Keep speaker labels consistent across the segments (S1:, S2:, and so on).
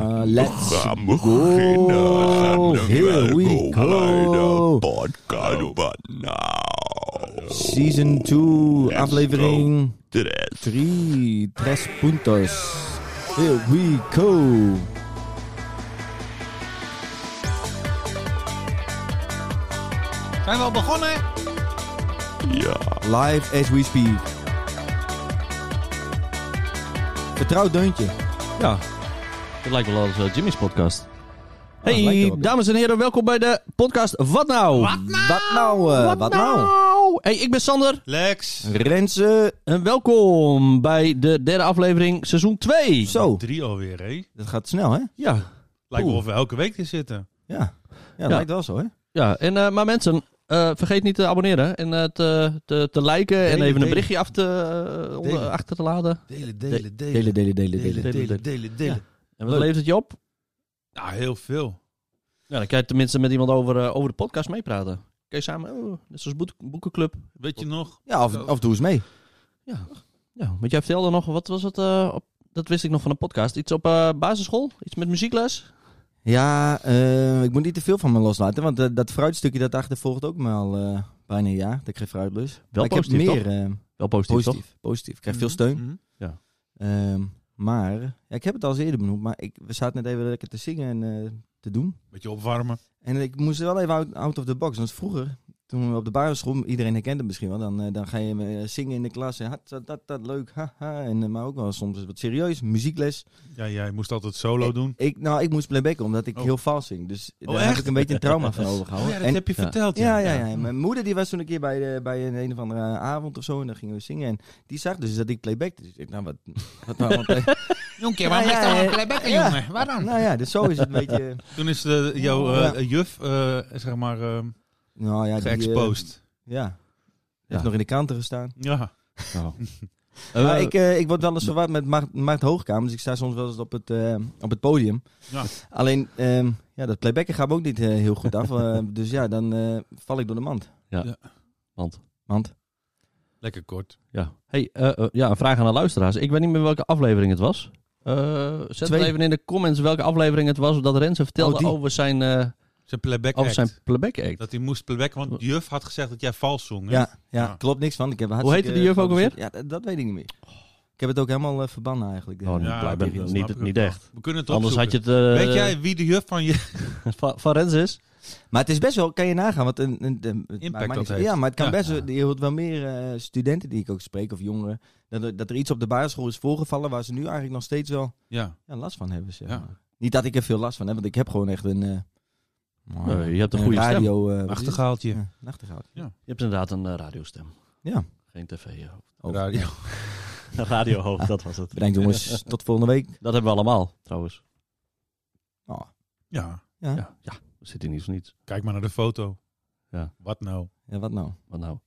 S1: Eh, let's
S2: gaan
S1: go.
S2: beginnen.
S1: Here we go.
S2: Podcast wat nou?
S1: Season 2, aflevering
S2: Tres.
S1: 3. Tres puntos. Here we go.
S3: Zijn we al begonnen?
S2: Ja,
S1: Live as we speak. Vertrouwd deuntje.
S3: Ja. Dat lijkt wel als eh, Jimmy's podcast.
S1: Ah, lijkt er
S3: Hey,
S1: wel op.
S3: dames en heren, welkom bij de podcast Wat Nou?
S1: Wat nou? eh, wat nou?
S3: Hey, ik ben Sander.
S4: Lex.
S1: Rensen.
S3: En welkom bij de derde aflevering, seizoen 2.
S1: Zo,
S4: Drie alweer, hè?
S1: dat gaat snel hè?
S3: Ja.
S4: Lijkt wel of we elke week hier zitten.
S1: Ja, ja dat
S3: Ja.
S1: lijkt wel zo hè?
S3: ja. En, eh, maar mensen, eh, vergeet niet te abonneren en eh, te, te, te liken en
S4: Delen,
S3: even een
S4: delen.
S3: berichtje af te, eh, onder-
S4: Delen.
S3: achter te laden.
S4: Delen,
S3: delen,
S1: Delen, delen, delen, delen.
S3: delen, delen,
S4: delen,
S3: delen. En wat levert het je op?
S4: Nou, heel veel.
S3: Ja, dan kan je tenminste met iemand over, eh, over de podcast meepraten. Kun je samen, oh, net zoals boek- Boekenclub.
S4: Weet je nog?
S1: Ja, of, of doe eens mee.
S3: Ja. ja, want jij vertelde nog, wat was het? eh, op, dat wist ik nog van een podcast. Iets op eh, basisschool? Iets met muziekles?
S1: Ja, eh, ik moet niet te veel van me loslaten, want eh, dat fruitstukje dat achtervolgt ook me al eh, bijna een jaar dat ik geen fruit lust. Maar ik
S3: positief,
S1: heb
S3: toch?
S1: meer eh,
S3: Wel positief,
S1: positief, positief. Ik krijg veel steun.
S4: Mhm.
S1: Ehm, maar, ja, ik heb het al eens eerder benoemd, maar ik, we zaten net even lekker te zingen en eh, te doen.
S4: Beetje opwarmen.
S1: En ik moest wel even out, out of the box, want vroeger, toen we op de basisschool, iedereen herkent het misschien wel, dan, eh, dan ga je eh, zingen in de klas, en dat, dat, dat, leuk, haha. En, eh, maar ook wel soms wat serieus, muziekles.
S4: Ja, jij moest altijd solo doen.
S1: Ik, nou, ik moest playbacken omdat ik
S4: Oh.
S1: heel vals zing. Dus daar
S4: Oh,
S1: heb
S4: echt?
S1: ik een beetje een trauma van overgehouden. Oh, En-
S4: heb je
S3: ja.
S4: verteld.
S1: ja, ja, ja, Mijn moeder die was toen een keer bij, de, bij een, een of andere avond of zo. En dan gingen we zingen. En die zag dus dat ik playbackte. Dus ik dacht, nou wat... wat nou, want, eh,
S5: Jonkie,
S1: waarom ligt er
S5: waarom ligt er
S1: nou een
S5: een playbacker,
S1: Ja.
S5: jongen? Waarom?
S1: nou ja, dus zo is het een beetje...
S4: Toen is de, jouw eh, juf, eh, zeg maar, eh,
S1: Nou Oh, ja, die, eh,
S4: geëxposed.
S1: ja. Heeft
S3: Ja.
S1: nog in de kanten gestaan.
S4: Ja.
S3: toch?
S1: maar
S3: Nou. Eh,
S1: ik, eh, ik word wel eens verward met Mart, Mart Hoogkamer. Dus ik sta soms wel eens op het, eh, op het podium.
S4: Ja.
S1: Alleen, ehm, ja, dat playbacken gaat me ook niet eh, heel goed af. eh, dus ja, dan eh, val ik door de mand.
S3: want,
S1: Mand.
S4: Lekker kort.
S3: ja. Hey, eh, eh, ja, een vraag aan de luisteraars. Ik weet niet meer welke aflevering het was. Eh, zet
S1: Twee.
S3: het even in de comments welke aflevering het was dat Renze vertelde
S1: Oh, die.
S3: over zijn, eh,
S4: Zijn playback
S1: Oh,
S3: over
S4: act.
S3: zijn playback act.
S4: Dat hij moest playbacken, want de juf had gezegd dat jij vals zong. hè?
S1: Ja, ja,
S4: Ja.
S1: klopt niks van. Ik heb
S3: heette
S1: hartstikke
S3: die juf ook
S1: foto's- Ja, dat, dat weet ik niet meer. Ik heb het ook helemaal eh, verbannen eigenlijk.
S3: Oh, nee,
S4: Ja,
S3: blijkbaar
S4: oké, dat
S3: niet,
S4: snap ik
S3: niet
S4: ook
S3: echt.
S4: We kunnen het
S3: Anders had je
S4: opzoeken.
S3: het... eh,
S4: Weet jij wie de juf van je...
S3: Van, van Renze is?
S1: Maar het is best wel, kan je nagaan, wat een, een, een- het
S4: Impact
S1: maakt mij
S4: dat
S1: niet-
S4: heeft.
S1: Ja, maar het kan
S4: Ja.
S1: best wel, je hoort wel meer eh, studenten die ik ook spreek, of jongeren, dat er, dat er iets op de basisschool is voorgevallen waar ze nu eigenlijk nog steeds wel
S4: Ja.
S1: ja, last van hebben. Zeg
S4: Ja.
S1: maar. Niet dat ik er veel last van heb, want ik heb gewoon echt een, eh,
S3: Nee, je hebt een goede stem.
S1: radio eh, wat is het?
S4: Achtergaaltje.
S1: Ja, nachtegaal.
S3: Je hebt inderdaad een eh, radiostem.
S1: Ja.
S3: Geen eh, tv-hoofd.
S1: Oh,
S4: Radio.
S1: ja.
S3: Radiohoofd, dat was het.
S1: Bedankt jongens, tot volgende week.
S3: Dat hebben we allemaal, trouwens.
S1: Oh,
S4: Ja.
S3: Ja, ja we zitten niet voor niets.
S4: Kijk maar naar de foto.
S3: Ja.
S4: Wat nou?
S1: ja, wat nou?
S3: Wat nou?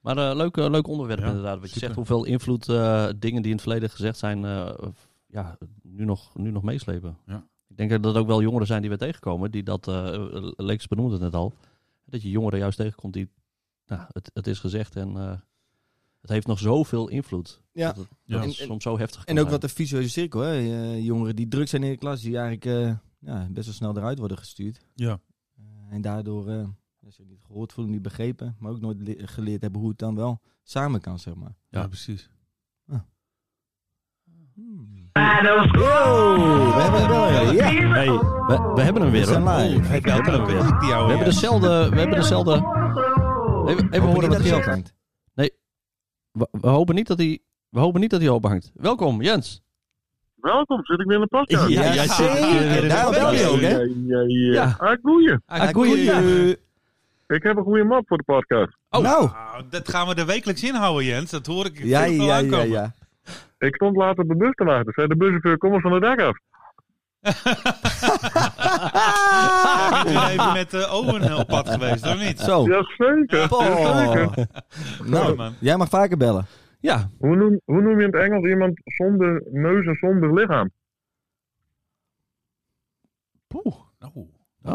S3: Maar eh, leuk, eh, leuk onderwerp
S4: Ja,
S3: inderdaad. Wat je
S4: super.
S3: zegt, hoeveel invloed eh, dingen die in het verleden gezegd zijn, eh, f- ja, nu nog, nu nog meeslepen.
S4: Ja.
S3: Ik denk dat er ook wel jongeren zijn die we tegenkomen, die dat, eh Leeks benoemde het net al, dat je jongeren juist tegenkomt die, nou, het, het is gezegd en eh, het heeft nog zoveel invloed.
S1: Ja.
S3: Dat het,
S4: Ja.
S3: dat het
S1: En- en-
S3: soms zo heftig kan
S1: En ook
S3: zijn.
S1: wat de visuele cirkel, hè? Eh, jongeren die druk zijn in de klas, die eigenlijk eh, ja, best wel snel eruit worden gestuurd.
S4: Ja.
S1: Eh, en daardoor eh dat ze niet gehoord voelen, niet begrepen, maar ook nooit le- geleerd hebben hoe het dan wel samen kan, zeg maar.
S3: Ja.
S4: Ja, precies.
S3: Hmm.
S1: Wow, Oh, we hebben het wel. Ja,
S3: Hey, we, we hebben hem
S1: we
S3: weer
S1: zijn
S3: hoor.
S1: live.
S4: Hij belt
S3: hebben
S4: wel
S3: hem
S4: een
S3: weer.
S4: beetje, die ouwe
S3: We hebben dus-
S4: jas.
S3: dezelfde... We hebben dezelfde... Even, even horen wat hij zegt.
S1: hangt.
S3: We, we hopen niet dat hij... We hopen niet dat hij openhangt. Welkom, Jens.
S6: Welkom, zit ik weer in een podcast?
S3: Ja, jij zit weer in de
S1: Daarom bel je
S3: podcast.
S1: ook, hè? eh,
S6: ja, ja.
S3: Ja.
S6: Ah, goeie.
S3: Ah, goeie.
S6: Ik heb een goede map voor de podcast.
S3: Oh.
S1: Nou,
S4: Nou, dat gaan we er wekelijks inhouden, Jens. Dat hoor ik.
S1: ja, ja, ja, ja.
S6: Ik stond later op de bus te wachten. Zei de buschauffeur, kom eens van de dak af.
S4: Ik ben even met eh, Owen op pad geweest, of niet?
S1: Zo.
S6: Jazeker.
S1: Oh.
S4: Mooi,
S1: Nou,
S4: man.
S1: jij mag vaker bellen.
S3: Ja,
S6: Hoe noem, hoe noem je in het Engels iemand zonder neus en zonder lichaam?
S3: poeh.
S4: Nou,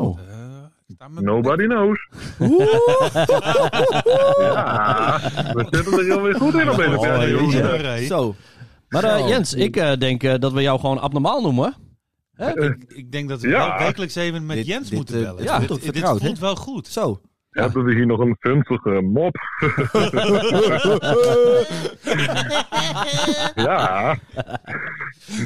S3: Oh.
S4: eh, ik sta met-
S6: Nobody knows. Ja, we zitten er heel weer goed in op deze
S4: Oh,
S6: periode.
S4: ja.
S1: Zo.
S3: Maar eh, Jens, ik eh, denk eh, dat we jou gewoon abnormaal noemen. Hè?
S4: Ik, ik denk dat we
S6: Ja.
S4: wel wekelijks even met
S1: Dit-
S4: Jens
S1: dit,
S4: moeten
S1: eh,
S4: bellen.
S1: dit voelt ook
S4: dit, dit
S1: vertrouwd, hè?
S4: voelt wel goed.
S1: Zo.
S6: Hebben we hier nog een gunstige mop? ja.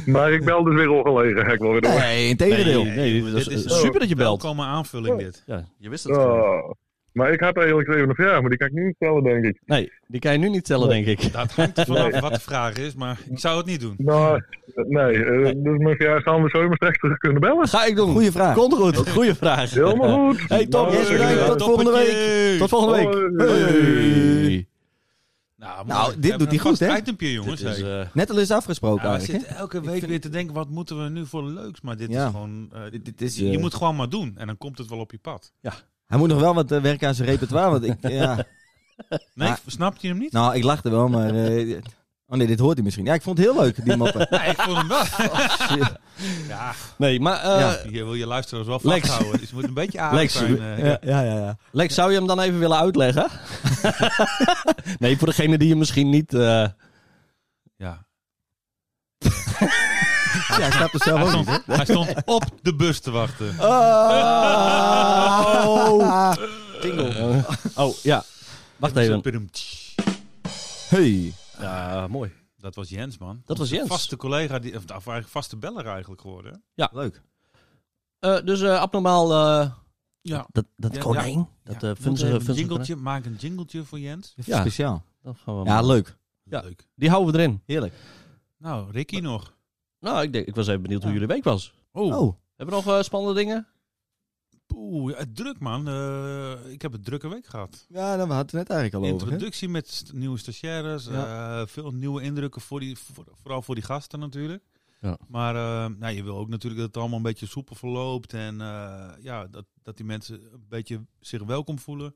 S6: Maar ik bel dus weer ongelegen. Ga ik wel weer door.
S1: Nee, integendeel.
S3: Nee, nee, dit is,
S4: dit is
S3: eh, super dat je belt.
S4: Welkome aanvulling dit.
S3: Ja, je wist het gewoon.
S6: Oh. Maar ik had eigenlijk 47 jaar, maar die kan ik niet stellen, denk ik.
S3: Nee, die kan je nu niet tellen, denk ik.
S4: Dat hangt er vanaf wat de vraag is, maar ik zou het niet doen.
S6: Nou, nee. eh, Dus mijn verjaardag gaan we zo maar straks terug kunnen bellen.
S3: Ga ik doen.
S1: Goeie vraag.
S3: Komt goed. Goeie vraag.
S6: Helemaal goed.
S3: Hey, Tom,
S6: Nou,
S1: Jens,
S6: eh,
S1: bedankt. Tot volgende
S4: Toppetje.
S1: Tot volgende week.
S6: Hoi.
S1: Hey.
S4: Nou,
S1: Nou,
S4: mooi.
S1: dit
S4: We hebben
S1: doet hij
S4: een
S1: goed,
S4: vast
S1: hè?
S4: itempje, jongens.
S3: Dit is,
S4: hey.
S3: eh,
S1: Net al is afgesproken
S4: Ja, Nou, we
S1: eigenlijk.
S4: zitten elke week weer te denken, wat moeten we nu voor leuks? Maar dit
S1: Ja.
S4: is gewoon... eh,
S1: hè? Dit, dit is,
S4: je
S1: eh,
S4: moet gewoon maar doen en dan komt het wel op je pad.
S1: Hij moet nog wel wat eh, werken aan zijn repertoire. Want ik, ja.
S4: Nee,
S1: Maar-
S4: snap je hem niet?
S1: Nou, ik lachte wel, maar... eh, oh nee, dit hoort hij misschien. Ja, ik vond het heel leuk, die moppen.
S4: Nee, ik vond hem wel. ja,
S3: nee, maar eh,
S1: Ja.
S4: je wil je luisteraars wel
S3: Lex.
S4: vasthouden. Dus je moet een beetje aardig
S3: Lex,
S4: zijn. eh.
S1: ja, ja. ja.
S3: Lex, zou je hem dan even willen uitleggen? nee, voor degene die je misschien niet... eh,
S4: ja.
S1: Ja, hij snapt het zelf
S4: Hij,
S1: ook
S4: stond,
S1: niet.
S4: hij stond op de bus te wachten.
S1: Oh! Tingle.
S3: oh, ja. Wacht even.
S1: Hey.
S3: Ja, mooi.
S4: Dat was Jens, man.
S3: Dat was Jens.
S4: Vaste collega, die, of of eigenlijk vaste beller eigenlijk geworden. hè?
S1: Leuk.
S3: Eh, dus eh, abnormaal... eh,
S4: Ja.
S3: Dat, dat
S4: Ja,
S3: konijn. Dat
S4: Ja,
S3: eh
S4: moet
S3: vunzige...
S4: even een
S3: vunzige
S4: jingletje, maak een jingletje voor Jens.
S3: Ja.
S1: Speciaal.
S3: konijn. Dat gaan we
S1: Ja,
S3: maken.
S1: leuk.
S3: Ja.
S4: Leuk.
S3: Die houden we erin.
S1: Heerlijk.
S4: Nou, Ricky nog.
S3: Nou, ik, denk, ik was even benieuwd hoe
S4: Ja.
S3: jullie week was.
S4: Oh,
S1: Oh,
S3: Hebben we nog eh, spannende dingen?
S4: poeh, eh, druk man. Eh, ik heb een drukke week gehad.
S1: ja, daar hadden we het eigenlijk al over. hè?
S4: Introductie met st- nieuwe stagiaires. eh, veel nieuwe indrukken, voor die, voor- vooral voor die gasten natuurlijk.
S3: Ja.
S4: Maar eh, nou, je wil ook natuurlijk dat het allemaal een beetje soepel verloopt. En eh, ja, dat, dat die mensen een beetje zich welkom voelen.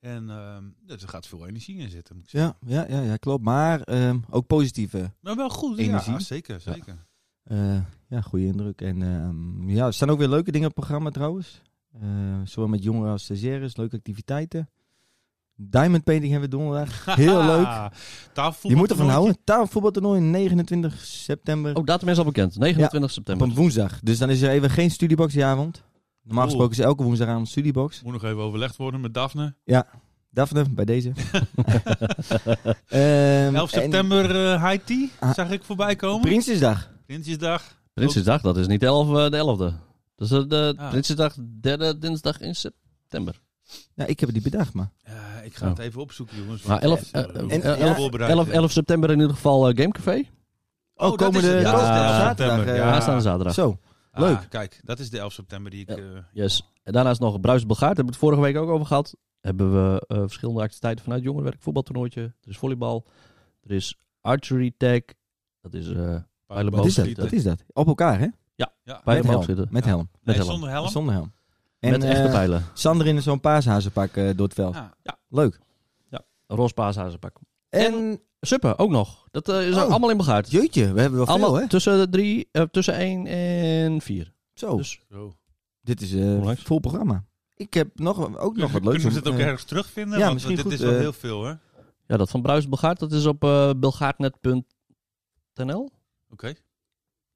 S4: En eh, dus er gaat veel energie in zitten. moet ik zeggen.
S1: Ja, ja, ja, ja, klopt. Maar ehm, ook positieve.
S4: Maar wel goed, ja.
S1: Energie.
S4: Zeker,
S1: Ja.
S4: zeker.
S1: eh, ja, goede indruk. En ehm, ja, er staan ook weer leuke dingen op het programma trouwens. Eh, zowel met jongeren als stagiaires, leuke activiteiten. Diamond painting hebben we donderdag. Heel leuk.
S4: Tafelvoetbal.
S1: Je moet ervan houden. Tafelvoetbaltoernooi 29 september.
S3: Oh, datum is al bekend. 29
S1: op
S3: september.
S1: een woensdag. Dus dan is er even geen studieboxavond. Normaal
S4: Cool.
S1: gesproken is elke woensdagavond studiebox.
S4: Moet nog even overlegd worden met Daphne.
S1: Daphne, bij deze. Ehm,
S4: 11
S1: en
S4: september eh, high tea,
S1: Ah.
S4: zag ik voorbij komen.
S1: Prinsjesdag.
S4: Prinsjesdag.
S3: Prinsjesdag, dat is niet de 11, eh, de 11e. Dat is eh, de
S4: Ah.
S3: Prinsjesdag, derde dinsdag in september.
S1: Ja, ik heb het niet bedacht, maar...
S4: Eh, ik ga
S1: Oh.
S4: het even opzoeken, jongens.
S3: Maar 11, eh,
S4: en,
S1: en- ja,
S3: 11, 11 september in ieder geval eh, Gamecafé.
S1: Oh,
S4: eh. dat
S1: komende
S4: is het. Ja,
S1: komende
S3: dat is de 11
S1: zaterdag.
S4: september.
S1: eh,
S4: Ja. Ah,
S3: Aanstaande zaterdag.
S1: Zo, leuk.
S4: kijk, dat is de 11 september die ik...
S3: Ja.
S4: eh,
S3: Yes. En daarnaast nog Bruis Belgaard. Hebben we het vorige week ook over gehad. Hebben we eh, verschillende activiteiten vanuit jongerenwerk. Voetbaltoernooitje. Er is volleybal. Er is archery tag. Dat is eh
S1: wat is dat?
S3: Schieten.
S1: Wat is dat? Op elkaar, hè?
S4: Ja.
S3: bij
S1: Met
S3: de boog
S1: helm.
S3: zitten.
S1: Met
S4: Ja.
S1: helm.
S4: Nee,
S3: helm.
S4: zonder helm.
S1: Zonder helm. En
S3: Met echte
S1: eh,
S3: pijlen.
S1: Sander in zo'n paashazenpak eh, door het veld.
S4: Ja.
S1: Leuk.
S3: Een roze paashazenpak.
S1: En,
S3: Suppen ook nog. Dat eh, is
S1: Oh.
S3: allemaal in Belgaard.
S1: jeutje, we hebben wel
S3: Allemaal
S1: veel, hè?
S3: tussen, de drie, eh, tussen 1 en 4.
S1: Zo,
S3: Dus
S4: Zo.
S1: dit is eh,
S3: onlangs.
S1: vol programma. Ik heb nog, ook nog wat leuks.
S4: Kunnen we het
S1: om,
S4: ook
S1: eh,
S4: ergens terugvinden?
S1: ja,
S4: Want
S1: misschien
S4: dit
S1: goed,
S4: is wel
S1: eh,
S4: heel veel, hè? Oké.
S3: Ja, dat van Bruis Belgaard, dat is op eh, belgaardnet.nl.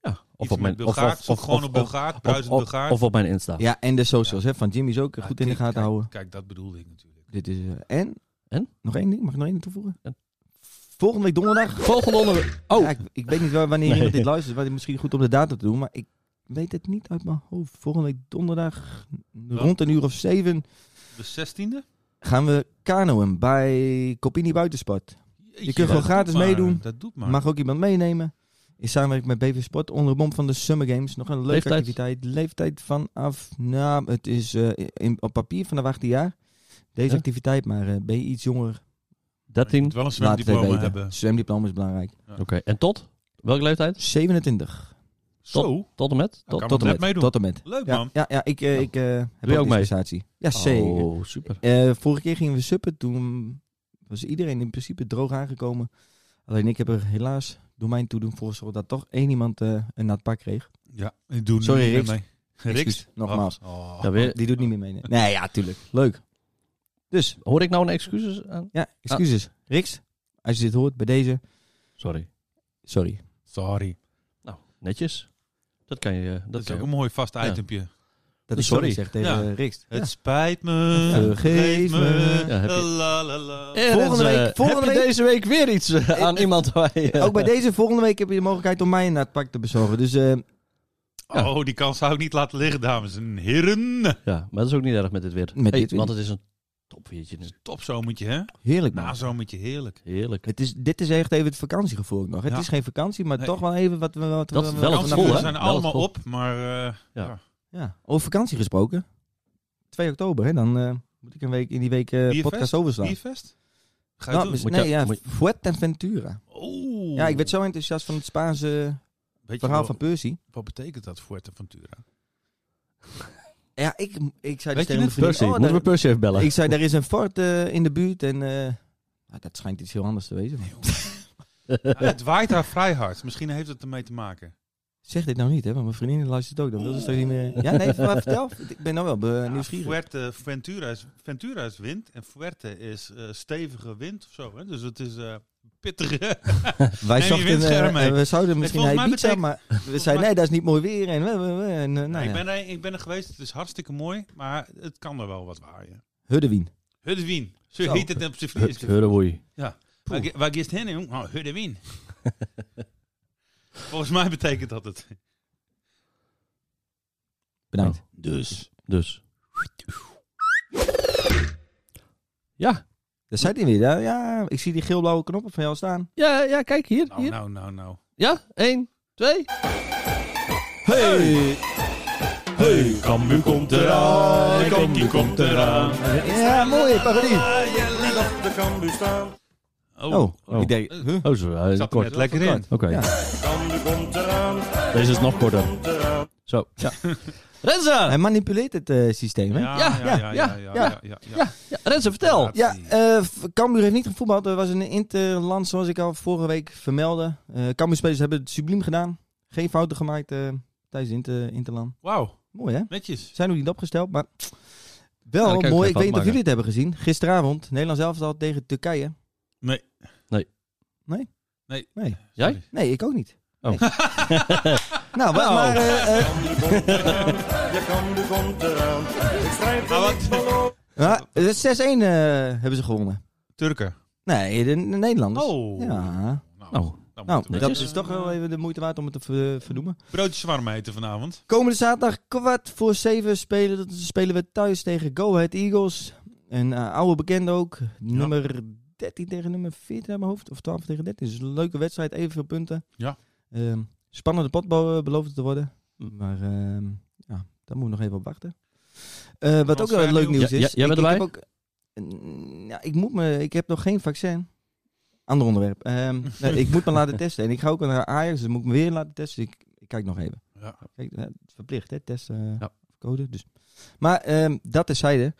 S3: Ja,
S4: Of op mijn... Bulgaard, zoek gewoon op Bulgaard, bruisend
S3: of-
S4: Bulgaard.
S3: of op mijn Insta.
S1: ja, en de socials hè, van Jimmy is ook eh,
S4: Ja,
S1: goed in de
S4: kijk,
S1: gaten
S4: kijk,
S1: houden.
S4: Kijk, dat bedoelde ik natuurlijk.
S1: Dit is, eh, en?
S3: En?
S1: Nog één ding? Mag ik nog één ding toevoegen?
S3: En?
S1: Volgende week donderdag.
S3: Volgende onderwerp. Oh,
S1: Ja, ik, ik weet niet wa- wanneer
S3: Nee.
S1: iemand dit luistert. Wat misschien goed om de datum te doen. Maar ik weet het niet uit mijn hoofd. Volgende week donderdag rond een uur of zeven
S4: De 16e?
S1: gaan we kanoën bij Copini Buitensport.
S4: Jeetje,
S1: kunt gewoon
S4: dat
S1: gratis
S4: doet maar,
S1: meedoen.
S4: Dat doet maar.
S1: Mag ook iemand meenemen. In samenwerking met BV Sport onder de bom van de Summer Games. Nog een leuke
S3: Leeftijd?
S1: activiteit. Leeftijd vanaf, nou het is eh, in, op papier vanaf 18 jaar. Deze
S3: Ja.
S1: activiteit, maar eh, ben je iets jonger,
S3: 13.
S4: moet wel een
S1: laat het even
S4: zwemdiploma
S1: weten.
S4: hebben.
S1: Zwemdiploma is belangrijk.
S3: Oké, en tot? Welke leeftijd?
S1: 27.
S4: Zo,
S3: Tot en met?
S4: Dan
S3: Tot,
S4: kan
S3: tot
S1: Tot en
S4: net
S1: met.
S4: meedoen.
S1: Tot en met.
S4: leuk
S1: Ja,
S4: man. Nou.
S1: ja, ja ik, eh, ik eh, heb
S3: je ook
S1: ook
S3: mee?
S1: presentatie. Ja, zeker.
S3: Oh, super.
S1: Eh, vorige keer gingen we suppen. Toen was iedereen in principe droog aangekomen. Alleen ik heb er helaas door mijn toedoen voor gezorgd dat toch één iemand eh, een nat pak kreeg.
S4: Ja, ik doe
S1: Sorry,
S4: niet meer
S1: Riks.
S4: mee.
S1: Excuus, nogmaals.
S4: Oh.
S3: Ja, weer,
S1: Die doet niet meer mee. nee. Nee, ja, tuurlijk. Leuk. Dus,
S3: hoor ik nou een excuses aan?
S1: ja, excuses. Ah. Riks, als je dit hoort bij deze,
S3: Sorry.
S1: sorry.
S4: Sorry.
S3: Nou, netjes. Dat kan je. Dat,
S4: Dat is
S3: kan
S4: ook
S3: je
S4: een mooi vast
S3: Ja.
S4: itempje.
S1: Dat
S3: Dus
S1: is sorry,
S3: sorry.
S1: zegt tegen Rikst.
S4: Het spijt me.
S1: Vergeef me.
S3: Ja, heb je-
S4: La, la, la.
S3: En,
S1: Volgende
S3: eh,
S1: week- volgende
S3: heb je
S1: week-
S3: deze week weer iets eh, aan iemand waar je...
S1: Ook bij deze volgende week heb je de mogelijkheid om mij naar het pak te bezorgen. Dus eh,
S3: Ja.
S4: Oh, die kans zou ik niet laten liggen, dames en heren.
S3: Ja, maar dat is ook niet erg met dit weer.
S1: Met
S3: Hey,
S1: dit weer.
S3: Want het is een topweertje. nu.
S4: Topzomertje, hè?
S1: heerlijk man.
S4: Nazomertje, heerlijk.
S3: Nou, Heerlijk.
S1: Het is, dit is echt even het vakantiegevoel ook nog. Het
S4: Ja.
S1: is geen vakantie, maar
S4: Nee.
S1: toch wel even wat we... Wat
S3: Dat
S1: we,
S3: wel het
S1: wat we-
S3: gevoel, hè?
S4: We zijn
S3: Wel het
S4: allemaal
S3: gevoel.
S4: op, maar eh,
S3: Ja.
S4: ja.
S1: Ja, over vakantie gesproken. 2 oktober, hè? dan eh, moet ik een week in die week eh,
S4: Bierfest?
S1: podcast overslaan.
S4: bierfest? Ga je
S1: Nou,
S4: doen?
S1: mis-
S3: Moet
S1: nee,
S3: je-
S1: ja,
S3: moet je-
S1: Fuerteventura.
S4: Oeh.
S1: Ja, ik werd zo enthousiast van het Spaanse
S4: Weet je
S1: verhaal
S4: wel-
S1: van Percy.
S4: Wat betekent dat, Fuerteventura?
S1: Ja, ik, ik zei
S4: Weet
S1: dus
S4: je
S1: tegen mijn
S4: het?
S1: vriend...
S3: Percy,
S1: oh,
S3: moeten
S1: daar-
S3: we Percy even bellen?
S1: ik zei, daar is een fort eh, in de buurt en... eh, nou, dat schijnt iets heel anders te wezen. maar-
S4: Ja, het waait daar vrij hard. Misschien heeft het ermee te maken.
S1: Zeg dit nou niet, hè? Want mijn vriendin luistert ook. Dan wil ze straks niet meer... Ja, nee, maar vertel. Ik ben nou wel be-
S4: Ja,
S1: nieuwsgierig.
S4: Fuerte, Ventura is, Ventura is wind en Fuerte is eh, stevige wind of zo. Hè? Dus het is eh, pittige.
S1: Wij
S4: Neem je
S1: zochten, eh,
S4: windscherm mee.
S1: eh, we zouden misschien naar
S4: volgens mij
S1: Ibiza, maar we
S4: volgens
S1: zeiden nee,
S4: mij-
S1: dat is niet mooi weer. En, we- we- we- en, eh, nou,
S4: ik,
S1: ja.
S4: ben er, ik ben er geweest, het is hartstikke mooi, maar het kan er wel wat waaien.
S1: Huddewien.
S4: Huddewien. Zo
S1: Zo.
S4: heet het op zijn Fries.
S3: Hurrewoei.
S4: Waar ge- Waar gist heen, jong? Nou, Huddewien. Volgens mij betekent dat het.
S1: Bedankt.
S3: Dus. Dus. Ja.
S1: Daar staat hij weer. Ja, ja, ik zie die geel-blauwe knoppen van jou staan.
S3: Ja, ja, kijk hier.
S4: Nou,
S3: hier.
S4: nou, nou, nou.
S3: Ja, één, twee.
S1: Hey!
S2: Hey, Cambuur komt eraan. Cambuur komt eraan.
S1: Ja, mooie parodie.
S2: Ah, je liet op de Cambuur staan.
S1: Oh,
S3: Oh.
S1: ik denk... huh?
S3: Oh, zo. eh,
S4: zat er
S3: kort.
S4: net lekker in.
S3: Oké.
S1: Ja.
S2: Cambuur komt eraan.
S3: Deze is nog korter.
S2: Komt eraan.
S3: Zo. Ja. Renze!
S1: Hij manipuleert het eh, systeem, hè?
S4: Ja,
S3: Ja,
S4: ja, ja,
S3: ja,
S4: ja, ja,
S1: ja.
S4: ja, ja.
S3: Ja, Renze, vertel.
S4: Ja.
S1: Ja, eh, v- Cambuur heeft niet gevoetbald. Er was een interland, zoals ik al vorige week vermeldde. Eh Cambuur-spelers hebben het subliem gedaan. Geen fouten gemaakt eh, tijdens inter interland.
S4: Wauw,
S1: Mooi, hè?
S4: netjes.
S1: Zijn nog niet opgesteld, maar
S3: Ja, dan
S1: wel
S3: kan je ook
S1: mooi.
S3: geen
S1: Ik weet niet
S3: fout
S1: of jullie het hebben gezien. Gisteravond, Nederlands elftal tegen Turkije.
S4: Nee.
S3: Nee.
S1: Nee?
S4: Nee.
S1: Nee,
S3: Jij?
S1: nee ik ook niet.
S3: Oh.
S1: Nee. nou, maar, maar eh, eh,
S2: Cambuur komt eraan. Je Cambuur komt eraan. Ik strijd
S4: Maar
S2: voor
S4: Nou, wat-
S2: niks verloren.
S1: ja, het is 6-1 eh, hebben ze gewonnen.
S4: Turken.
S1: Nee, de, de Nederlanders.
S4: Oh.
S1: Ja.
S3: Nou,
S4: dan
S1: Nou,
S4: moeten we-
S1: dat is toch wel even de moeite waard om het te ver- vernoemen.
S4: Broodje zwarm eten vanavond.
S1: Komende zaterdag kwart voor zeven spelen, dat- spelen we thuis tegen Go Ahead Eagles. Een eh, oude bekende ook. Nummer 13 tegen nummer 14 uit mijn hoofd. Of 12 tegen 13. Dus een leuke wedstrijd. Evenveel punten.
S4: Ja.
S1: Ehm, spannende pot be- beloofd het te worden. Maar ehm, ja, daar moeten we nog even op wachten. Eh, wat ook wel
S4: Transfer
S1: leuk nieuws
S4: nieuws.
S3: Ja,
S1: is.
S3: ja, jij bent
S1: ik,
S3: erbij?
S1: Ik, heb ook, Mm, ja, ik, moet me, ik heb nog geen vaccin. Ander onderwerp. Ehm, nee, ik moet me laten testen. En ik ga ook naar Ajax, dus moet ik me weer laten testen. Dus ik, ik kijk nog even.
S4: Ja.
S1: Kijk, eh, het is verplicht, hè? Test, eh,
S3: Ja.
S1: code. Dus. Maar ehm, dat terzijde.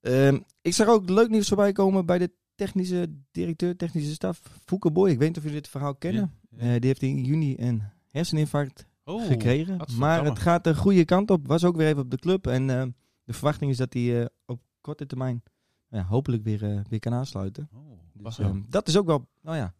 S1: Ehm ik zag ook leuk nieuws voorbij komen bij de technische directeur, technische staf, Fouke Boy. Ik weet niet of jullie dit verhaal kennen.
S4: Ja,
S1: Eh, die heeft in juni een herseninfarct
S4: Oh,
S1: gekregen.
S4: godverdamme.
S1: Maar het gaat de goede kant op. Was ook weer even op de club. En eh, de verwachting is dat hij eh, op korte termijn ja, hopelijk weer, eh, weer kan aansluiten.
S4: Oh,
S1: Dus,
S4: wacht
S1: ehm, dat is ook wel, nou ja,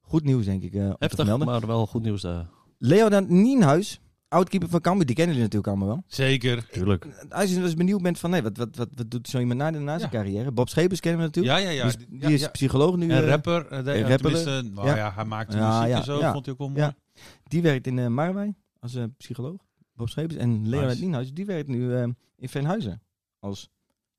S1: goed nieuws denk ik. eh, om te
S3: Heftig,
S1: vermelden.
S3: maar wel goed nieuws daar.
S1: Leonard Nienhuis, oudkeeper van Cambuur, die kennen jullie natuurlijk allemaal wel.
S4: Zeker.
S3: Tuurlijk.
S1: Als je dus benieuwd bent van, nee, wat, wat, wat, wat doet zo iemand na, na zijn
S4: Ja.
S1: carrière? Bob Schepers kennen we natuurlijk.
S4: Ja, ja, ja.
S1: die is,
S4: Ja,
S1: die is
S4: ja.
S1: psycholoog nu.
S4: En
S1: eh,
S4: rapper. eh, de-
S1: en
S4: eh,
S1: rapper.
S4: tenminste, nou
S1: Ja.
S4: ja. hij maakte
S1: Ja,
S4: muziek
S1: ja,
S4: en zo.
S1: ja.
S4: Vond hij ook wel mooi.
S1: Ja. Die werkt in eh Marwijn als eh, psycholoog. Bob Schepers. En Leonard
S4: Nice.
S1: Nienhuis, die werkt nu eh, in Veenhuizen als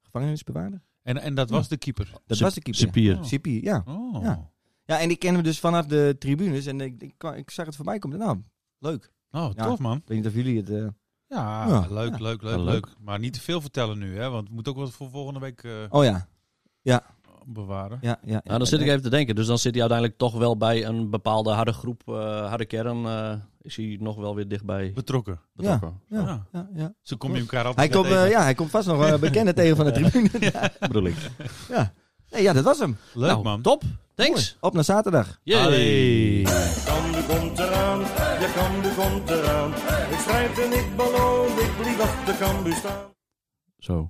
S1: gevangenisbewaarder.
S4: En, en dat was de keeper.
S1: Dat
S3: Sip-
S1: was de keeper.
S3: Sipier.
S1: ja. Sipier, ja.
S4: Oh.
S1: Ja. Ja, en ik ken hem dus vanaf de tribunes. En ik, ik, kwam- ik zag het voorbij komen. Nou, leuk. Ik
S4: Oh,
S1: Ja.
S4: tof man.
S1: weet niet of jullie het... eh,
S4: Ja,
S1: Ja.
S4: Leuk,
S1: Ja.
S4: leuk,
S3: Ja,
S4: leuk,
S3: leuk.
S4: leuk. Maar niet te veel vertellen nu, hè. Want het moet ook wat voor volgende week eh,
S1: Oh ja,
S4: bewaren.
S1: Oh. ja, ja.
S3: Nou, dan zit ik even te denken. Dus dan zit hij uiteindelijk toch wel bij een bepaalde harde groep, eh, harde kern. eh, is hij nog wel weer dichtbij
S4: Betrokken.
S3: betrokken.
S1: Ja,
S4: Ja.
S1: ja, ja.
S4: Zo kom je elkaar altijd
S1: Hij, komt,
S4: tegen.
S1: eh, ja, hij komt vast nog eh, bekenden tegen van de tribune. ja.
S3: bedoel ik.
S1: Nee, ja, dat was hem.
S4: Leuk
S3: Nou,
S4: man.
S3: top. Thanks.
S1: Mooi. Op naar zaterdag.
S3: Yay.
S4: Allee.
S2: Cambuur komt eraan. Je Cambuur komt eraan. Ik strijd en ik beloon. Ik liet op de Cambuur staan.
S3: Zo.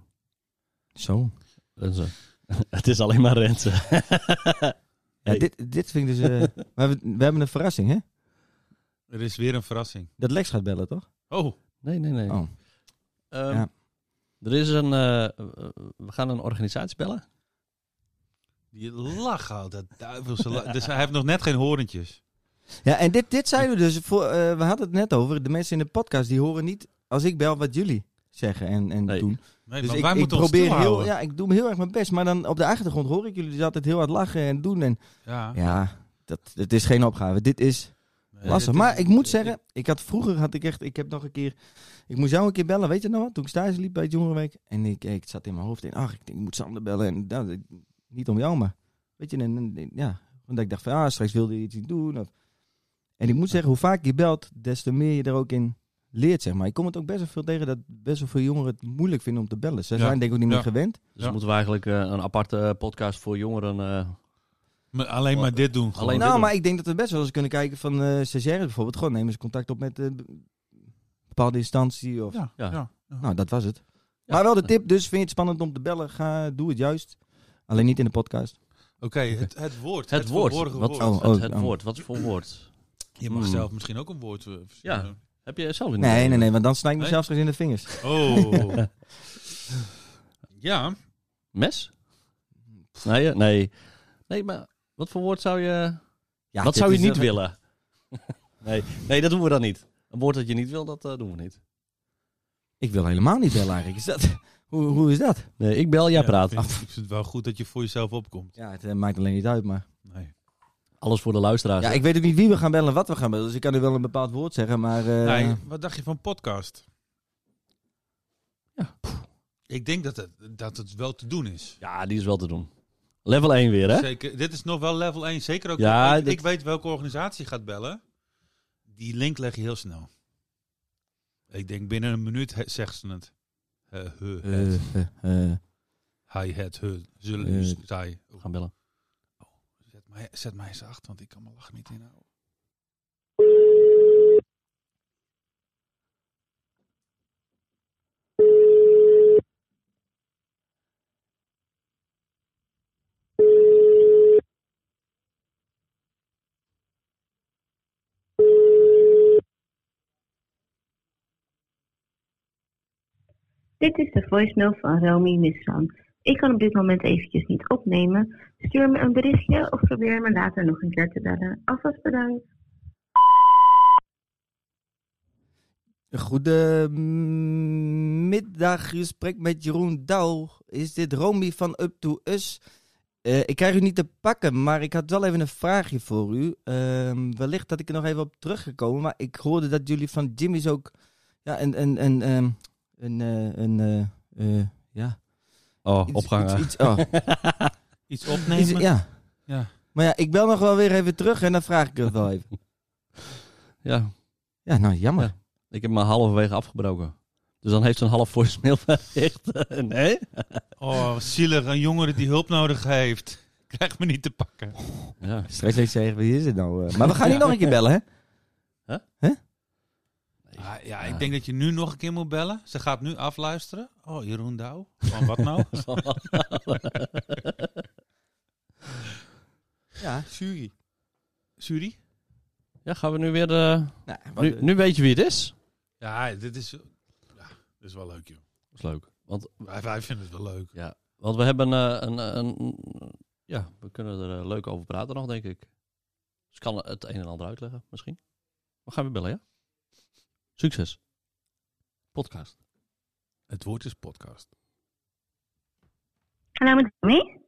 S1: Zo.
S3: Renze. Het is alleen maar Renze.
S1: Ja, dit, dit vind ik dus... eh, maar we, we hebben een verrassing, hè?
S4: Er is weer een verrassing.
S1: Dat Lex gaat bellen, toch?
S4: Oh,
S3: Nee, nee, nee.
S1: Oh.
S3: Ehm,
S1: Ja.
S3: Er is een... eh, eh, we gaan een organisatie bellen.
S4: die lach houdt dat duivelse lach. Dus hij heeft nog net geen horentjes.
S1: Ja, en dit, dit zijn we dus. Voor, eh, we hadden het net over. De mensen in de podcast die horen niet als ik bel wat jullie zeggen en, en
S3: Nee.
S1: doen.
S4: Nee,
S1: dus
S4: maar
S1: ik,
S4: wij
S1: ik
S4: moeten ons
S1: probeer heel,
S4: stilhouden.
S1: ja, ik doe heel erg mijn best. Maar dan op de achtergrond hoor ik jullie dus altijd heel hard lachen en doen. En
S4: Ja.
S1: ja, dat, dat is geen opgave. Dit is
S4: Nee,
S1: lastig.
S4: dit Eh, is-
S1: Maar ik moet zeggen, ik had vroeger had ik echt, ik heb nog een keer, ik moest jou een keer bellen, weet je nog? wat? Toen ik stage liep bij het Jongerenweek en ik, ik zat in mijn hoofd in, ach, ik, denk, ik moet Sander bellen en dat, ik- niet om jou, maar weet je, en, en- en- ja, omdat ik dacht van, ah, straks wilde je iets niet doen. Of, en ik moet zeggen, hoe vaak je belt, des te meer je er ook in leert, zeg maar. Ik kom het ook best wel veel tegen dat best wel veel jongeren het moeilijk vinden om te bellen. Ze
S4: Ja.
S1: zijn denk ik ook niet meer
S4: Ja.
S1: gewend.
S3: Dus
S4: Ja.
S3: moeten we eigenlijk eh, een aparte eh, podcast voor jongeren... eh,
S4: Maar alleen maar dit doen.
S3: Alleen
S4: Alleen
S3: dit
S1: nou,
S3: doen.
S1: maar ik denk dat we best wel eens kunnen kijken van eh stagiaires bijvoorbeeld. Gewoon nemen ze contact op met eh, een bepaalde instantie of
S4: Ja,
S3: Ja.
S4: ja.
S1: Nou, dat was het.
S3: Ja.
S1: Maar wel de tip, dus vind je het spannend om te bellen, ga, doe het juist. Alleen niet in de podcast.
S4: Oké, het, het woord. Mm.
S3: Het woord.
S4: verborgen
S3: Wat-
S4: woord.
S1: Oh.
S3: het, het woord, wat voor woord?
S4: Je mag
S3: Hmm.
S4: zelf misschien ook een woord eh, verzinnen.
S3: Heb je zelf niet? eh,
S1: Nee, nee, nee, want dan snij ik
S4: Nee?
S1: mezelf straks in de vingers.
S4: Oh. ja.
S3: Mes? Nee, eh, nee. Nee, maar wat voor woord zou je...
S1: Ja,
S3: wat
S1: dit
S3: zou je
S1: is
S3: niet
S1: echt-
S3: willen? eh, nee, nee, dat doen we dan niet. Een woord dat je niet wil, dat eh, doen we niet.
S1: Ik wil helemaal niet bellen eigenlijk. Is dat, hoe, hoe is dat?
S3: Nee, ik bel, jij
S4: Ja,
S3: praat.
S4: Ik vind, ik vind het wel goed dat je voor jezelf opkomt.
S1: Ja, het eh, maakt alleen niet uit, maar...
S4: Nee.
S3: Alles voor de luisteraars.
S1: Ja, ik weet ook niet wie we gaan bellen en wat we gaan bellen. Dus ik kan nu wel een bepaald woord zeggen, maar... eh,
S4: Nee, wat dacht je van podcast?
S3: Ja.
S4: Ik denk dat het, dat het wel te doen is.
S3: Ja, die is wel te doen. Level 1 weer, hè?
S4: Zeker, dit is nog wel level 1. Zeker ook.
S3: Ja,
S4: ik,
S3: dit-
S4: ik weet welke organisatie gaat bellen. Die link leg je heel snel. Ik denk binnen een minuut he- zegt ze het. Eh, he,
S1: eh,
S4: het,
S1: eh, eh,
S4: hij, het, he, zullen,
S1: eh,
S4: zij. Oh,
S3: We gaan bellen.
S4: zet, mij, zet mij eens acht, want ik kan mijn lach niet inhouden.
S5: Dit is de voicemail van Romy Misran. Ik kan op dit moment eventjes niet opnemen. Stuur me een berichtje of probeer me later nog een keer te bellen. Alvast bedankt.
S1: Goedemiddag, gesprek mm, met Jeroen Douw. Is dit Romy van Up to Us? Eh, ik krijg u niet te pakken, maar ik had wel even een vraagje voor u. Ehm, wellicht dat ik er nog even op terug ga komen, maar ik hoorde dat jullie van Jimmy's ook ja, een, een, een, ehm, een, eh, een, eh, eh, ja,
S3: Oh,
S1: iets-
S3: opgangen.
S1: iets- iets- oh,
S4: Iets
S1: iets-
S4: opnemen?
S1: ja.
S4: Ja.
S1: Maar ja, ik bel nog wel weer even terug en dan vraag ik het wel even.
S3: Ja,
S1: Ja, nou jammer.
S3: Ja. ik heb me halverwege afgebroken. Dus dan heeft ze een half voicemail verricht. nee?
S4: Oh, wat zielig. Een jongere die hulp nodig heeft. Krijgt me niet te pakken.
S3: Ja.
S1: Straks heeft ze zeggen, wie is het nou? eh? Maar we gaan niet nog een keer bellen, hè?
S4: Ah, ja, ik denk dat je nu nog een keer moet bellen. Ze gaat nu afluisteren. Oh, Jeroen Douw. Van wat nou?
S1: Ja, jury.
S4: Suri?
S3: ja, gaan we nu weer... eh,
S1: Nou, wat-
S3: nu, nu weet je wie het is.
S4: Ja, dit is, ja, dit is wel leuk, joh.
S3: Dat is leuk. Want
S4: Wij, wij vinden het wel leuk.
S3: Want we hebben eh, een, een, Ja, we kunnen er eh, leuk over praten nog, denk ik. Dus ik kan het een en ander uitleggen, misschien. We gaan weer bellen, ja? Succes. Podcast.
S4: Het woord is podcast.
S5: Hallo met Romy.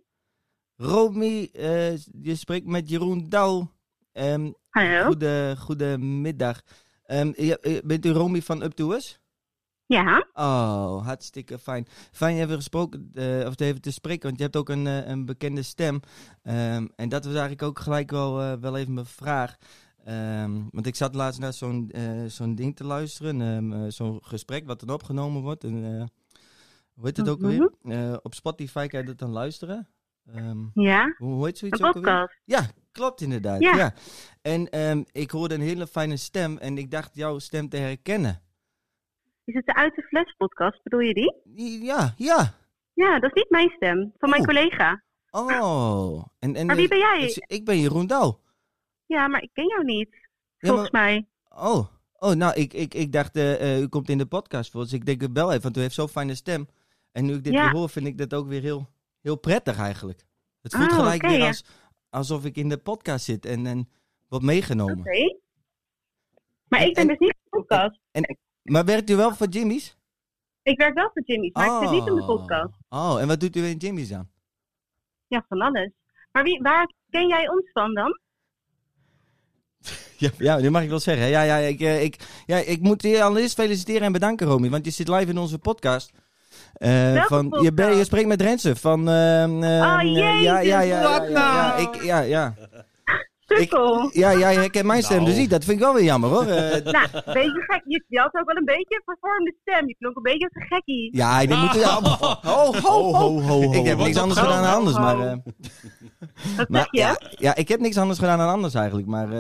S1: Romy, eh, je spreekt met Jeroen Douw. Ehm
S5: Hallo.
S1: goede, goedemiddag. Ehm, ja, eh, bent u Romy van Up to Us?
S5: Ja,
S1: Oh, hartstikke fijn. Fijn je even gesproken, eh, of te even te spreken, want je hebt ook een, eh, een bekende stem. Ehm, en dat was eigenlijk ook gelijk wel, eh, wel even mijn vraag. Ehm, want ik zat laatst naar zo'n eh, zo'n ding te luisteren, ehm, eh, zo'n gesprek wat dan opgenomen wordt. En, eh, hoe heet het ook weer? op Spotify kan je dat dan luisteren. Ehm,
S5: ja.
S1: hoe hoe heet zoiets
S5: Een
S1: ook alweer?
S5: podcast.
S1: Ja, klopt inderdaad. Ja.
S5: Ja.
S1: En ehm, ik hoorde een hele fijne stem en ik dacht jouw stem te herkennen.
S5: Is het de Uit de Fles podcast? Bedoel je die?
S1: I- Ja, ja.
S5: Ja, dat is niet mijn stem. Van mijn
S1: Oeh.
S5: collega.
S1: Oh. En, en,
S5: Maar wie
S1: eh,
S5: ben jij?
S1: dus ik ben Jeroen Douw.
S5: Ja, maar ik ken jou niet.
S1: Ja,
S5: Volgens mij.
S1: maar- Oh, oh nou, ik, ik, ik dacht, eh, eh, u komt in de podcast voor. Dus ik denk het wel even, want u heeft zo'n fijne stem. En nu ik dit
S5: Ja.
S1: weer hoor, vind ik dat ook weer heel, heel prettig eigenlijk. Het voelt
S5: Ah,
S1: gelijk
S5: oké,
S1: weer
S5: ja.
S1: als, alsof ik in de podcast zit en, en wat meegenomen.
S5: Oké. Maar ik ben
S1: En-
S5: dus niet in de podcast.
S1: Maar werkt u wel voor Jimmy's?
S5: Ik werk wel voor Jimmy's, maar ik zit niet in de
S3: Oh.
S5: podcast.
S1: Oh, en wat doet u in Jimmy's dan?
S5: Ja, van alles. Maar wie, waar ken jij ons van dan?
S1: Ja, ja, nu mag ik wel zeggen. hè. Ja, ja, ik, eh, ik, ja, ik moet je allereerst feliciteren en bedanken, Romy. Want je zit live in onze podcast. Eh,
S5: Welke
S1: van, Je, ben, je
S5: podcast? Ah,
S1: spreekt met Rensen van... eh, eh, ja,
S5: jezus,
S1: ja, ja, ja, ja,
S5: wat
S1: ja,
S5: nou?
S1: ik, ja, ja.
S5: Sukkel.
S1: Ja, jij herkent mijn stem
S3: Nou.
S1: dus niet. Dat vind ik wel weer jammer, hoor. Eh,
S5: Nou, een beetje gek. Je, je had ook wel een beetje een vervormde stem. Je klonk een beetje als een gekkie.
S1: ja, dit moet... Ja, ho, ho, ho, ho, Ik heb
S3: Wat
S1: niks
S3: een
S1: anders
S3: geld.
S1: gedaan dan anders, maar... eh,
S5: Wat
S1: maar
S5: zeg je?
S1: ja, ja, ik heb niks anders gedaan dan anders eigenlijk, maar... eh,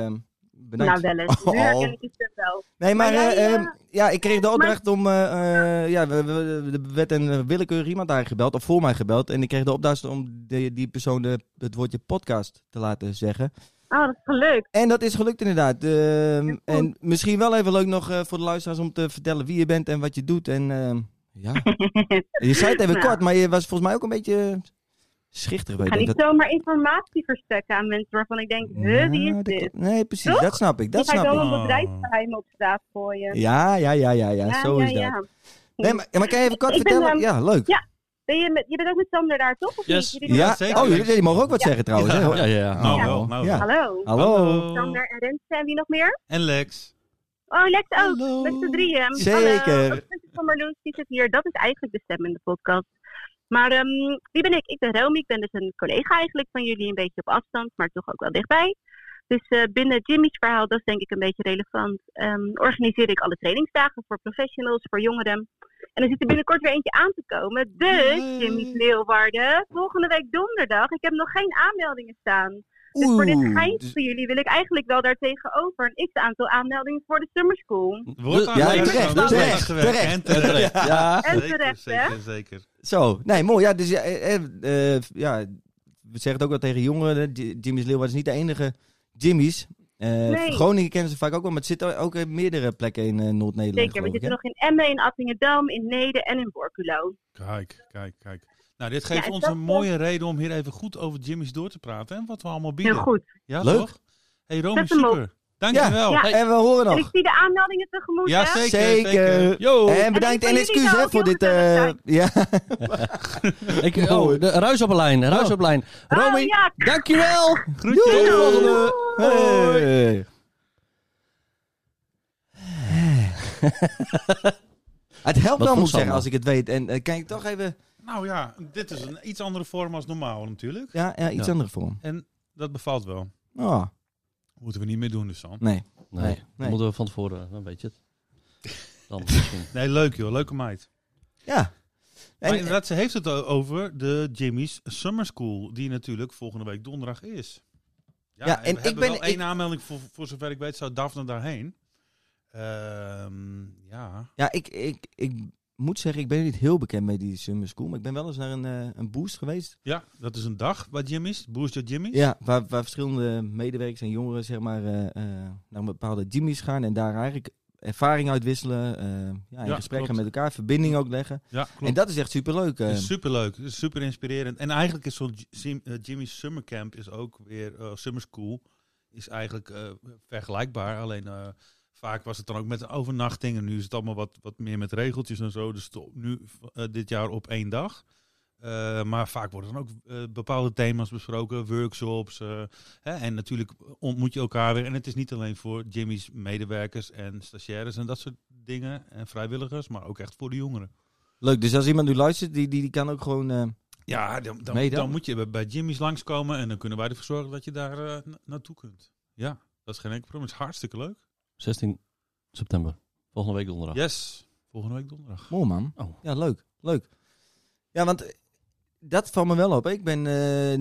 S5: nou,
S1: bedankt.
S5: wel eens. Nu
S1: Oh.
S5: herken ik je stem wel.
S1: Nee, maar,
S5: Maar jij,
S1: eh,
S5: eh,
S1: ehm, ja, ik kreeg de opdracht om. eh, eh, ja, we, we- we- er werd een eh, willekeurig iemand aangebeld, of voor mij gebeld. En ik kreeg de opdracht om de, die persoon de, het woordje podcast te laten zeggen.
S5: Oh, dat is gelukt.
S1: En dat is gelukt, inderdaad. Ehm, en misschien wel even leuk nog eh, voor de luisteraars om te vertellen wie je bent en wat je doet. En ehm, ja, je zei het even
S5: Nou.
S1: kort, maar je was volgens mij ook een beetje schichtig. Weet
S5: Ik ga
S1: ik.
S5: niet
S1: Dat-
S5: zomaar informatie verstrekken aan mensen waarvan ik denk, huh, wie
S1: Ja,
S5: is dit?
S1: Nou, Nee, precies,
S5: Toch?
S1: dat snap ik. Dat
S5: die ga ik
S1: snap
S5: dan
S1: ik.
S4: ik.
S5: een bedrijfsgeheim op straat gooien.
S1: Ja, ja, ja, ja, ja,
S5: Ja,
S1: zo
S5: ja,
S1: is dat.
S5: ja.
S1: Nee, maar, maar kan je even kort
S5: Ik ben,
S1: vertellen?
S5: ehm,
S1: ja, leuk.
S5: Ben je, met, je bent ook met Sander daar, toch? Of
S3: Yes.
S5: niet? Jullie
S1: Ja,
S4: Ja, zeker.
S1: Oh, jullie, jullie mogen ook wat
S5: Ja.
S1: zeggen trouwens. hè?
S3: Ja, ja, ja.
S4: Nou
S1: Ja.
S4: wel, nou
S1: Ja.
S4: wel.
S5: Hallo.
S1: Hallo.
S5: Sander en Rens en wie nog meer?
S4: En Lex.
S5: Oh, Lex ook.
S4: Hallo.
S5: Met z'n drieën.
S1: Zeker.
S5: Hallo. Ook Vincent van Marloes, die zit hier. Dat is eigenlijk de stem in de podcast. Maar ehm, wie ben ik? Ik ben Romy. Ik ben dus een collega eigenlijk van jullie. Een beetje op afstand, maar toch ook wel dichtbij. Dus eh, binnen Jimmy's verhaal, dat is denk ik een beetje relevant, ehm, organiseer ik alle trainingsdagen voor professionals, voor jongeren. En er zit er binnenkort weer eentje aan te komen. Dus, Jimmy's Leeuwarden, volgende week donderdag. Ik heb nog geen aanmeldingen staan. Dus voor dit geintje
S1: dus-
S5: voor jullie wil ik eigenlijk wel daartegenover een x-aantal aanmeldingen voor de summer school.
S4: Wordt
S3: Ja,
S4: aan mij
S1: terecht,
S4: gewerkt, wordt
S1: terecht,
S4: aan gewerkt.
S1: terecht.
S4: En terecht.
S1: ja,
S5: En
S4: Zeker,
S5: terecht, hè?
S4: Zeker, zeker.
S1: zo. Nee, mooi. Ja, dus ja, eh, eh, eh, ja, we zeggen het ook wel tegen jongeren. J- Jimmy's Leeuwarden is niet de enige Jimmy's. Eh,
S5: Nee.
S1: Groningen kennen ze vaak ook wel, maar het zit ook in meerdere plekken in eh, Noord-Nederland.
S5: Zeker, we
S1: geloof ik,
S5: zitten
S1: hè?
S5: nog in Emmen, in Appingedam, in Nede en in Borculo.
S4: Kijk, kijk, kijk. Nou, dit geeft
S5: Ja, is
S4: ons
S5: dat
S4: een
S5: zo?
S4: mooie reden om hier even goed over Jimmy's door te praten. En wat we allemaal bieden.
S5: Heel goed.
S4: Ja,
S1: Leuk.
S4: toch? hey, Romy,
S5: Zet hem op.
S4: super. Dankjewel.
S5: Ja.
S4: Ja,
S5: nog-
S1: En we horen
S5: En
S1: nog.
S5: ik zie de aanmeldingen tegemoet, hè?
S4: zeker.
S1: Zeker.
S3: Yo.
S1: En bedankt
S5: En
S1: en
S5: ik vond jullie
S1: excuus
S5: wel
S1: hè,
S5: ook
S1: voor
S5: heel
S1: dit. eh,
S5: gezellig
S1: ja.
S3: Ik, oh, de, ruis op een lijn, ruis op een lijn. Romy,
S5: Oh, ja.
S3: dankjewel.
S4: Groetjes.
S1: Tot de volgende.
S3: Hoi.
S1: Hey. Het helpt
S3: Wat
S1: wel,
S3: goed,
S1: moet ik zeggen,
S3: Sander.
S1: als ik het weet. En eh, kijk, toch even...
S4: Nou ja, dit is een iets andere vorm als normaal natuurlijk.
S1: Ja, ja iets
S3: Ja.
S1: andere vorm.
S4: En dat bevalt wel.
S1: Oh,
S4: Moeten we niet meer doen dus dan.
S1: nee.
S3: Nee,
S1: Nee,
S3: dat
S1: nee.
S3: moeten we van tevoren, dan weet je het. Dan misschien.
S4: Nee, leuk joh. Leuke meid.
S1: Ja.
S4: Maar
S1: En,
S4: inderdaad, ze heeft het o- over de Jimmy's Summer School. Die natuurlijk volgende week donderdag is. Ja,
S1: Ja, en
S4: en we
S1: ik
S4: hebben
S1: ben-
S4: wel één
S1: ik-
S4: aanmelding. Voor, voor zover ik weet zou Daphne daarheen. Ehm, ja.
S1: ja, ik, ik, ik moet zeggen, ik ben niet heel bekend met die Summer School. Maar ik ben wel eens naar een, eh, een boost geweest.
S4: ja, dat is een dag bij Jimmy's. Boost your Jimmy's.
S1: Ja, waar, waar verschillende medewerkers en jongeren zeg maar, eh, eh, naar een bepaalde Jimmy's gaan. En daar eigenlijk ervaring uitwisselen. eh, ja, in
S4: Ja,
S1: gesprek gaan
S4: klopt.
S1: met elkaar. Verbinding ook leggen.
S4: Ja, klopt. Dus-
S1: En dat is echt superleuk. eh.
S4: Het is superleuk, het is super inspirerend. En eigenlijk is zo'n J- Sim- eh, Jimmy's Summer Camp is ook weer, eh, Summer School is eigenlijk eh, vergelijkbaar. Alleen eh, vaak was het dan ook met een overnachting en nu is het allemaal wat, wat meer met regeltjes en zo. Dus to- nu eh, dit jaar op één dag. Eh, maar vaak worden dan ook eh, bepaalde thema's besproken, workshops. eh, hè, en natuurlijk ontmoet je elkaar weer. En het is niet alleen voor Jimmy's medewerkers en stagiaires en dat soort dingen. En vrijwilligers, maar ook echt voor de jongeren.
S1: Leuk, dus als iemand nu luistert, die, die, die kan ook gewoon... eh,
S4: Ja, dan, dan,
S1: Meedoen.
S4: dan moet je bij- bij Jimmy's langskomen en dan kunnen wij ervoor zorgen dat je daar eh, na- naartoe kunt. Ja, dat is geen enkel probleem. Het is hartstikke leuk.
S3: 16 september, volgende week donderdag.
S4: Yes, volgende week donderdag.
S1: Mooi man.
S3: Oh.
S1: Ja, leuk. Leuk. Ja, want eh, dat valt me wel op. Ik ben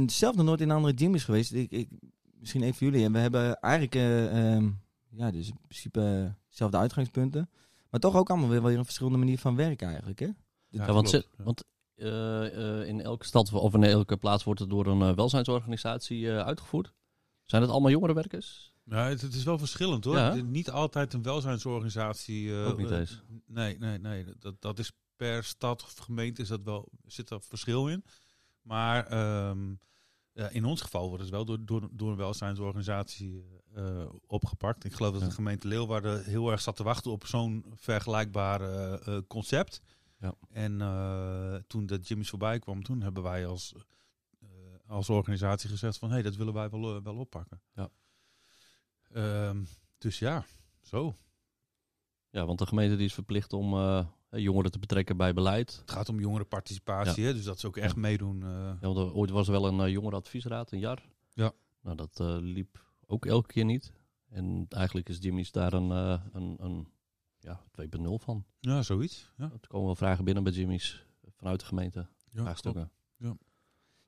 S1: eh, zelf nog nooit in andere gyms geweest. Ik, ik, misschien even jullie. En we hebben eigenlijk, eh, ehm, ja, dus in principe eh, dezelfde uitgangspunten. Maar toch ook allemaal weer, wel weer een verschillende manier van werken eigenlijk, hè?
S4: Ja,
S3: Ja, want
S4: klopt.
S3: ze- want eh, eh, in elke stad of in elke plaats wordt het door een eh, welzijnsorganisatie eh, uitgevoerd. Zijn het allemaal jongerenwerkers?
S4: Nou, het, het is wel verschillend hoor.
S3: Ja.
S4: Het is Niet altijd een welzijnsorganisatie. eh,
S3: Ook niet
S4: eh,
S3: eens.
S4: Nee, nee, nee. Dat, dat is per stad of gemeente is dat wel, zit daar verschil in. Maar ehm, ja, in ons geval wordt het wel door, door, door een welzijnsorganisatie eh, opgepakt. Ik geloof dat
S3: Ja.
S4: de gemeente Leeuwarden heel erg zat te wachten op zo'n vergelijkbaar eh, eh, concept.
S3: Ja.
S4: En eh, toen dat Jimmy's voorbij kwam, toen hebben wij als, eh, als organisatie gezegd van... hé, hey, dat willen wij wel, eh, wel oppakken.
S3: Ja.
S4: Ehm, dus ja, zo.
S3: Ja, want de gemeente die is verplicht om eh, jongeren te betrekken bij beleid.
S4: Het gaat om jongerenparticipatie, hè, dus dat ze ook echt meedoen. eh.
S3: Ja, want er- ooit was er wel een eh, jongerenadviesraad, een jaar.
S4: Ja.
S3: Nou, dat eh, liep ook elke keer niet. En eigenlijk is Jimmy's daar een, eh, een, een ja, 2.0 van.
S4: ja, zoiets. Ja.
S3: Er komen wel vragen binnen bij Jimmy's vanuit de gemeente.
S4: Ja, klopt.
S3: Vraagstukken.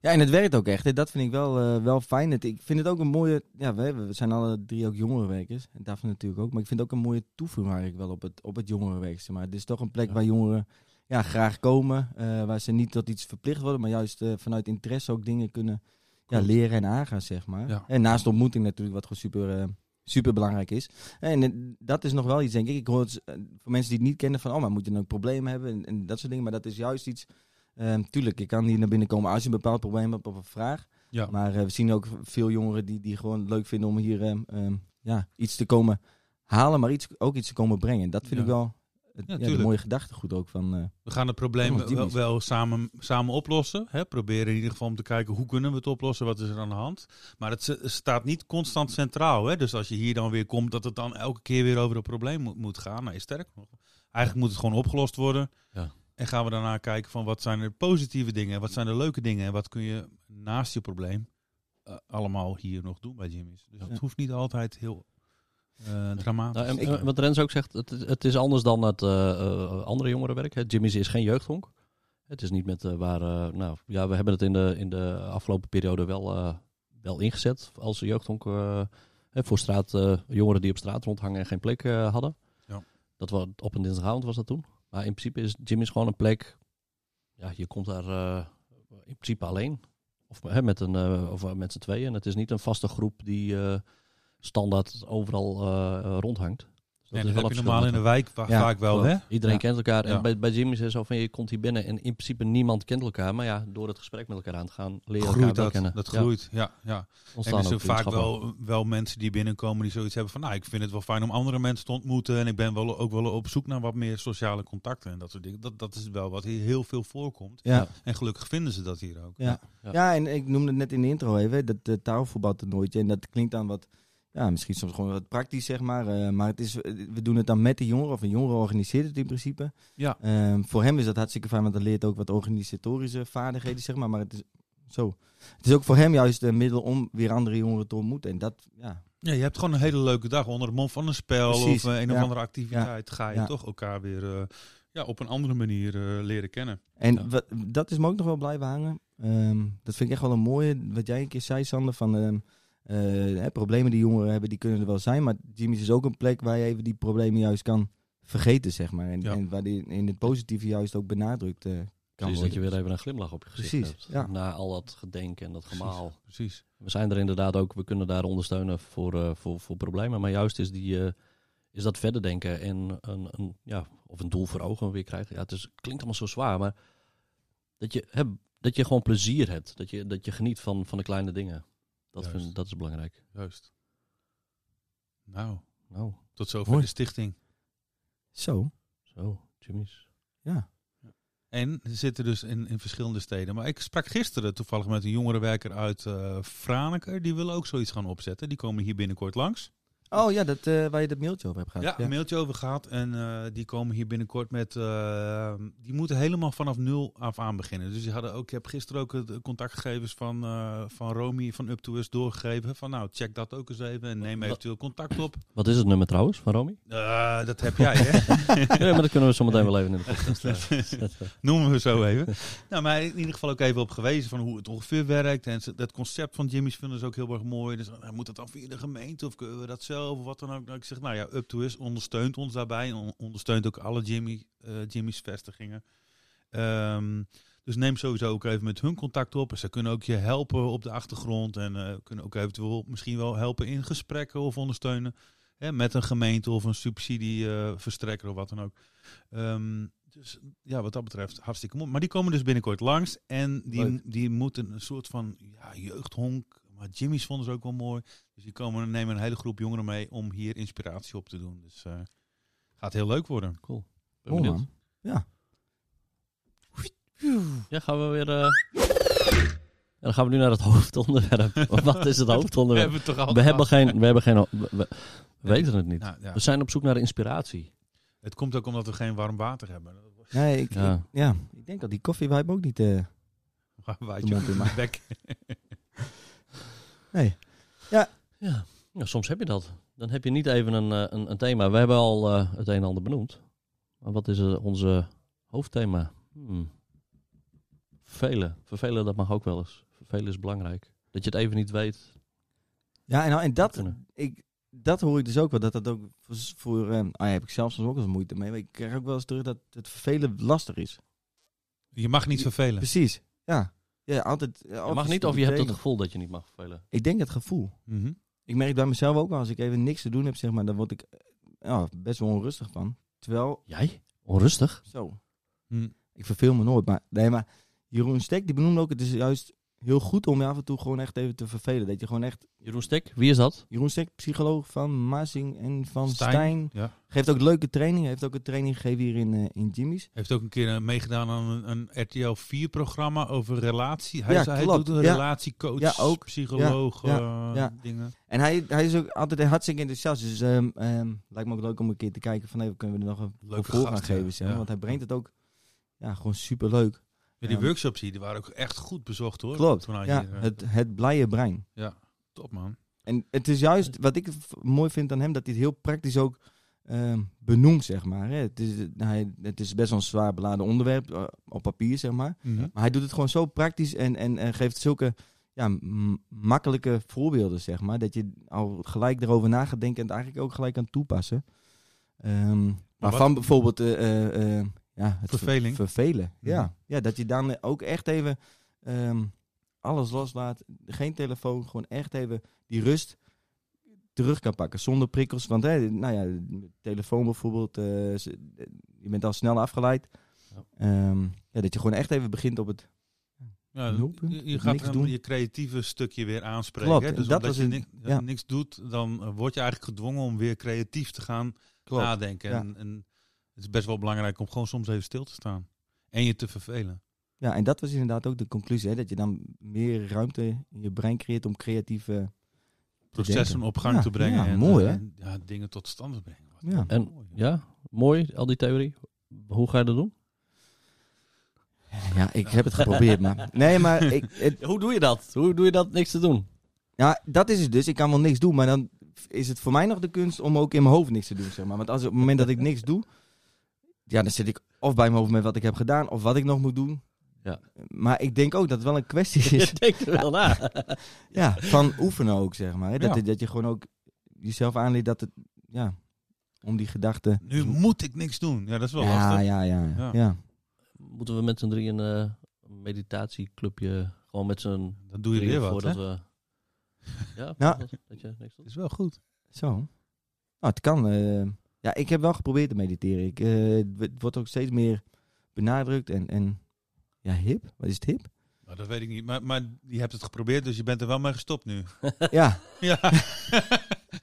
S1: Ja, en het werkt ook echt. hè. Dat vind ik wel, eh, wel fijn. Het, ik vind het ook een mooie... Ja, we, we zijn alle drie ook jongerenwerkers. En daarvan natuurlijk ook. Maar ik vind het ook een mooie toevoeging eigenlijk wel op het, op het jongerenwerk. zeg Maar het is toch een plek
S3: Ja.
S1: waar jongeren ja, graag komen. eh, waar ze niet tot iets verplicht worden. Maar juist eh, vanuit interesse ook dingen kunnen ja,
S4: Klopt.
S1: leren en aangaan, zeg maar.
S4: Ja.
S1: En naast de ontmoeting natuurlijk, wat gewoon super... eh, Super belangrijk is. En eh, dat is nog wel iets, denk ik. Ik hoor het eh, voor mensen die het niet kennen van, oh, maar moet je dan ook problemen hebben en, en dat soort dingen. Maar dat is juist iets Ehm, tuurlijk, je kan hier naar binnen komen als je een bepaald probleem hebt of een vraag.
S4: Ja.
S1: Maar eh, we zien ook veel jongeren die, die gewoon leuk vinden om hier ehm, ehm, ja, iets te komen halen, maar iets, ook iets te komen brengen. Dat vind
S4: Ja.
S1: ik wel het, ja, de
S4: tuurlijk.
S1: mooie gedachtegoed ook van... eh,
S4: We gaan het
S1: Oh,
S4: probleem
S1: die
S4: wel,
S1: is-
S4: wel samen, samen oplossen. Hè? Proberen in ieder geval om te kijken hoe kunnen we het oplossen, wat is er aan de hand. Maar het s- staat niet constant centraal. Hè? Dus als je hier dan weer komt, dat het dan elke keer weer over het probleem moet, moet gaan. Nee, sterk nog. Eigenlijk moet het gewoon opgelost worden.
S3: Ja.
S4: En gaan we daarna kijken van wat zijn de positieve dingen, wat zijn de leuke dingen en wat kun je naast je probleem eh, allemaal hier nog doen bij Jimmy's. Dus het hoeft niet altijd heel eh, dramatisch.
S3: Nou, en,
S4: te
S3: eh,
S4: zijn.
S3: wat Rens ook zegt, het, het is anders dan het eh, eh, andere jongerenwerk. hè. Jimmy's is geen jeugdhonk. Het is niet met eh, waar... eh, nou, ja, we hebben het in de, in de afgelopen periode wel, eh, wel ingezet als jeugdhonk. eh, hè, voor straat, eh, jongeren die op straat rondhangen en geen plek eh, hadden.
S4: Ja.
S3: Dat was, op een dinsdagavond was dat toen. Maar in principe is Jimmy's gewoon een plek... Ja, je komt daar eh, in principe alleen. Of, hè, met een, eh, of met z'n tweeën. En het is niet een vaste groep die... eh, standaard overal eh, eh, rondhangt. Dus
S4: Nee,
S3: is
S4: dat
S3: wel
S4: heb
S3: een
S4: je
S3: verschil
S4: normaal in de wijk va-
S1: Ja,
S4: vaak wel, hè?
S1: klopt.
S3: Iedereen
S1: Ja.
S3: kent elkaar. En
S4: Ja.
S3: bij, bij Jim is het zo van je komt hier binnen en in principe niemand kent elkaar. Maar ja, door het gesprek met elkaar aan te gaan, leer je elkaar
S4: groeit
S3: wel
S4: dat,
S3: kennen.
S4: dat
S3: Ja,
S4: groeit, ja. ja, En
S3: ontstaan
S4: er zijn
S3: ook
S4: vaak
S3: vriendschappen.
S4: wel, wel mensen die binnenkomen die zoiets hebben van... nou, ik vind het wel fijn om andere mensen te ontmoeten... en ik ben wel, ook wel op zoek naar wat meer sociale contacten en dat soort dingen. Dat, dat is wel wat hier heel veel voorkomt.
S1: ja.
S4: En gelukkig vinden ze dat hier ook.
S1: Ja.
S3: Ja.
S1: Ja. en ik noemde het net in de intro even, hè, dat uh, tafelvoetbaltoernooitje. En dat klinkt dan wat, ja, misschien soms gewoon wat praktisch, zeg maar. eh, maar het is, eh, we doen het dan met de jongeren, of een jongere organiseert het in principe.
S4: Ja.
S1: Ehm, voor hem is dat hartstikke fijn, want dat leert ook wat organisatorische vaardigheden, zeg maar. Maar het is, zo. Het is ook voor hem juist een middel om weer andere jongeren te ontmoeten. En dat, ja,
S4: Ja, je hebt gewoon een hele leuke dag onder de mond van een spel...
S1: Precies,
S4: of eh, een of
S1: ja.
S4: andere activiteit ga je
S1: Ja.
S4: toch elkaar weer... eh, ja, op een andere manier eh, leren kennen.
S1: En
S3: Ja.
S1: wat, dat is me ook nog wel blijven hangen. Ehm, dat vind ik echt wel een mooie, wat jij een keer zei, Sander, van ehm, eh, hè, problemen die jongeren hebben, die kunnen er wel zijn. Maar Jimmy's is ook een plek waar je even die problemen juist kan vergeten, zeg maar. En,
S4: Ja.
S1: en waar die in het positieve juist ook benadrukt eh, kan
S3: Precies dat
S1: worden.
S3: je weer even een glimlach op je gezicht
S1: Precies,
S3: hebt.
S1: ja.
S3: Na al dat gedenken en dat gemaal.
S4: Precies.
S3: We zijn er inderdaad ook, we kunnen daar ondersteunen voor, eh, voor, voor problemen. Maar juist is, die, eh, is dat verder denken en een, een, ja, of een doel voor ogen weer krijgen. Ja, het is, klinkt allemaal zo zwaar, maar dat je, hè, dat je gewoon plezier hebt. Dat je, dat je geniet van, van de kleine dingen. Dat,
S4: Juist.
S3: vind, dat is belangrijk.
S4: Juist. Nou,
S3: Nou,
S4: tot zover
S1: Mooi.
S4: de stichting.
S1: Zo,
S3: zo, Jimmy's.
S1: ja.
S4: En ze zitten dus in, in verschillende steden. Maar ik sprak gisteren toevallig met een jongerenwerker uit eh Franeker. Die willen ook zoiets gaan opzetten. Die komen hier binnenkort langs.
S1: Oh ja, dat, eh, waar je dat mailtje over hebt gehad.
S4: Ja, een mailtje over gehad. En eh, die komen hier binnenkort met... eh, die moeten helemaal vanaf nul af aan beginnen. Dus die hadden ook, ik heb gisteren ook de contactgegevens van, eh, van Romy van Up to Us doorgegeven. Van nou, check dat ook eens even en neem eventueel contact op.
S3: Wat is het nummer trouwens van Romy?
S4: Eh, dat heb jij, hè?
S3: ja, maar dat kunnen we zo meteen wel even in de podcast eh, zetten.
S4: Noemen we zo even. nou, maar in ieder geval ook even op gewezen van hoe het ongeveer werkt. En ze- dat concept van Jimmy's vinden ze ook heel erg mooi. Dus eh, moet dat dan via de gemeente of kunnen we dat zelf of wat dan ook. Nou, ik zeg, nou ja, Up to Us ondersteunt ons daarbij. En on- ondersteunt ook alle Jimmy, eh, Jimmy's vestigingen. Ehm, Dus neem sowieso ook even met hun contact op. En ze kunnen ook je helpen op de achtergrond. En eh, kunnen ook eventueel misschien wel helpen in gesprekken of ondersteunen. Hè, met een gemeente of een subsidieverstrekker of wat dan ook. Ehm, dus ja, wat dat betreft hartstikke mooi. Maar die komen dus binnenkort langs. En die, die moeten een soort van ja, jeugdhonk. Maar Jimmy's vonden ze ook wel mooi. Dus die komen en nemen een hele groep jongeren mee om hier inspiratie op te doen. Dus eh, gaat heel leuk worden.
S3: Cool. Ben
S1: Oh,
S3: benieuwd.
S1: man. Ja.
S3: Ja, gaan we weer... eh, En dan gaan we nu naar het hoofdonderwerp. Wat is het hoofdonderwerp?
S4: het toch al
S3: We
S4: gehad?
S3: hebben geen... We, hebben geen ho- we, we- we weten het niet.
S4: Nou, ja.
S3: We zijn op zoek naar de inspiratie.
S4: Het komt ook omdat we geen warm water hebben.
S1: Nee, ik, ik- ja.
S3: Ja.
S1: Ik, denk dat die koffiewipe ook niet... eh,
S4: Waar waait
S1: Doe
S4: je
S1: maar, doe
S4: in
S1: maar.
S4: de bek?
S3: Ja. ja, soms heb je dat. Dan heb je niet even een, eh, een, een thema. We hebben al eh, het een en ander benoemd. Maar wat is eh, onze hoofdthema? Hmm. Vervelen. Vervelen, dat mag ook wel eens. Vervelen is belangrijk. Dat je het even niet weet.
S1: Ja, en, nou, en dat,
S3: kunnen.
S1: ik, dat hoor ik dus ook wel. Dat dat ook voor, voor eh, ah, ja, heb ik zelfs soms ook wel eens moeite mee. Maar ik krijg ook wel eens terug dat het vervelen lastig is.
S4: Je mag niet vervelen.
S1: Precies. Ja. ja altijd, ja,
S3: Je
S1: altijd
S3: mag niet of je hebt het
S1: betekenen.
S3: gevoel dat je niet mag vervelen.
S1: Ik denk het gevoel.
S4: Mhm.
S1: Ik merk bij mezelf ook wel. Als ik even niks te doen heb, zeg maar, dan word ik eh, ja, best wel onrustig van. Terwijl,
S3: Jij? Onrustig?
S1: zo.
S4: Hm.
S1: Ik verveel me nooit. Maar, nee, maar Jeroen Stek, die benoemde ook, het is juist heel goed om je af en toe gewoon echt even te vervelen. Dat je gewoon echt
S3: Jeroen Stek, wie is dat?
S1: Jeroen Stek, psycholoog van Mazing en van Stijn.
S4: Stijn, ja.
S1: Geeft ook leuke trainingen. Heeft ook een training gegeven hier in, eh, in Jimmy's.
S4: Heeft ook een keer eh, meegedaan aan een, een RTL 4-programma over relatie. Hij,
S1: Ja,
S4: is- hij
S1: klopt.
S4: doet een
S1: Ja.
S4: relatiecoach,
S1: Ja, ook.
S4: psycholoog,
S1: Ja,
S4: eh
S1: ja, ja.
S4: dingen.
S1: En hij, hij is ook altijd hartstikke enthousiast. Dus ehm, ehm, lijkt me ook leuk om een keer te kijken van... Hey, kunnen we er nog een
S4: Leuke
S1: voor aan
S4: gast, ja.
S1: geven? Zeg maar.
S4: Ja.
S1: Want hij brengt het ook ja, gewoon superleuk.
S4: Ja, die
S1: Ja.
S4: workshops hier, die waren ook echt goed bezocht hoor.
S1: Klopt.
S4: Toen hij
S1: Ja,
S4: hier, eh,
S1: het, het blije brein.
S4: Top man.
S1: En het is juist wat ik v- mooi vind aan hem... dat hij het heel praktisch ook ehm, benoemt, zeg maar. Hè. Het, is, hij, het is best wel een zwaar beladen onderwerp eh, op papier, zeg maar. Maar hij doet het gewoon zo praktisch en, en, en geeft zulke ja, m- makkelijke voorbeelden, zeg maar. Dat je al gelijk erover na gaat denken en het eigenlijk ook gelijk kan toepassen. Ehm, maar
S4: wat-
S1: van bijvoorbeeld eh, eh, eh, ja, het ver-
S4: Verveling.
S1: vervelen. Ja.
S4: Mhm.
S1: ja, dat je dan ook echt even ehm, alles loslaat. Geen telefoon, gewoon echt even die rust terug kan pakken zonder prikkels. Want hè, nou ja, telefoon bijvoorbeeld, eh, ze- je bent al snel afgeleid.
S3: Ja.
S1: Ehm, ja, dat je gewoon echt even begint op het
S4: Ja,
S1: Nulpunt.
S4: je, je
S1: Niks
S4: gaat dan
S1: doen.
S4: je creatieve stukje weer aanspreken.
S1: Klopt,
S4: hè.
S1: en
S4: Dus
S1: dat
S4: omdat
S1: was
S4: je
S1: een-
S4: ni-
S1: ja.
S4: niks doet, dan eh, word je eigenlijk gedwongen om weer creatief te gaan
S1: Klopt.
S4: nadenken.
S1: ja.
S4: En, en het is best wel belangrijk om gewoon soms even stil te staan. En je te vervelen.
S1: Ja, en dat was inderdaad ook de conclusie. Hè? Dat je dan meer ruimte in je brein creëert om creatieve...
S4: Processen
S1: denken.
S4: op gang
S1: Ja,
S4: te brengen.
S1: ja,
S4: en,
S1: mooi,
S4: eh,
S1: hè?
S4: ja, dingen tot stand te brengen. Wat
S1: Ja.
S3: En-
S4: mooi, hè.
S3: Ja, mooi, al die theorie. Hoe ga je dat doen?
S1: Ja, ik heb het geprobeerd, maar... Nee, maar ik, het-
S3: Hoe doe je dat? Hoe doe je dat niks te doen?
S1: ja, dat is het dus. Ik kan wel niks doen, maar dan is het voor mij nog de kunst om ook in mijn hoofd niks te doen, zeg maar. Want als, op het moment dat ik niks doe, ja, dan zit ik of bij mijn hoofd met wat ik heb gedaan, of wat ik nog moet doen.
S3: Ja.
S1: Maar ik denk ook dat het wel een kwestie is
S3: Je denkt er wel na.
S1: ja, van oefenen ook, zeg maar. Hè? Dat,
S4: Ja.
S1: dat je gewoon ook jezelf aanleert dat het... Ja, om die gedachten...
S4: Nu moet ik niks doen. Ja, dat is wel
S1: Ja,
S4: lastig.
S1: ja, ja, ja.
S4: Ja.
S1: ja.
S3: Moeten we met z'n drieën eh, een meditatieclubje, gewoon met z'n
S4: Dan doe je weer wat. hè.
S3: voordat
S4: Het
S3: we. Ja,
S1: Ja.
S3: dat, dat je niks doet.
S4: is wel goed.
S1: Zo. Nou, het kan. eh. ja, ik heb wel geprobeerd te mediteren. Ik, eh, het wordt ook steeds meer benadrukt en, en ja, hip. Wat is het hip?
S4: Nou, dat weet ik niet. Maar, maar je hebt het geprobeerd, dus je bent er wel mee gestopt nu.
S1: ja.
S4: ja,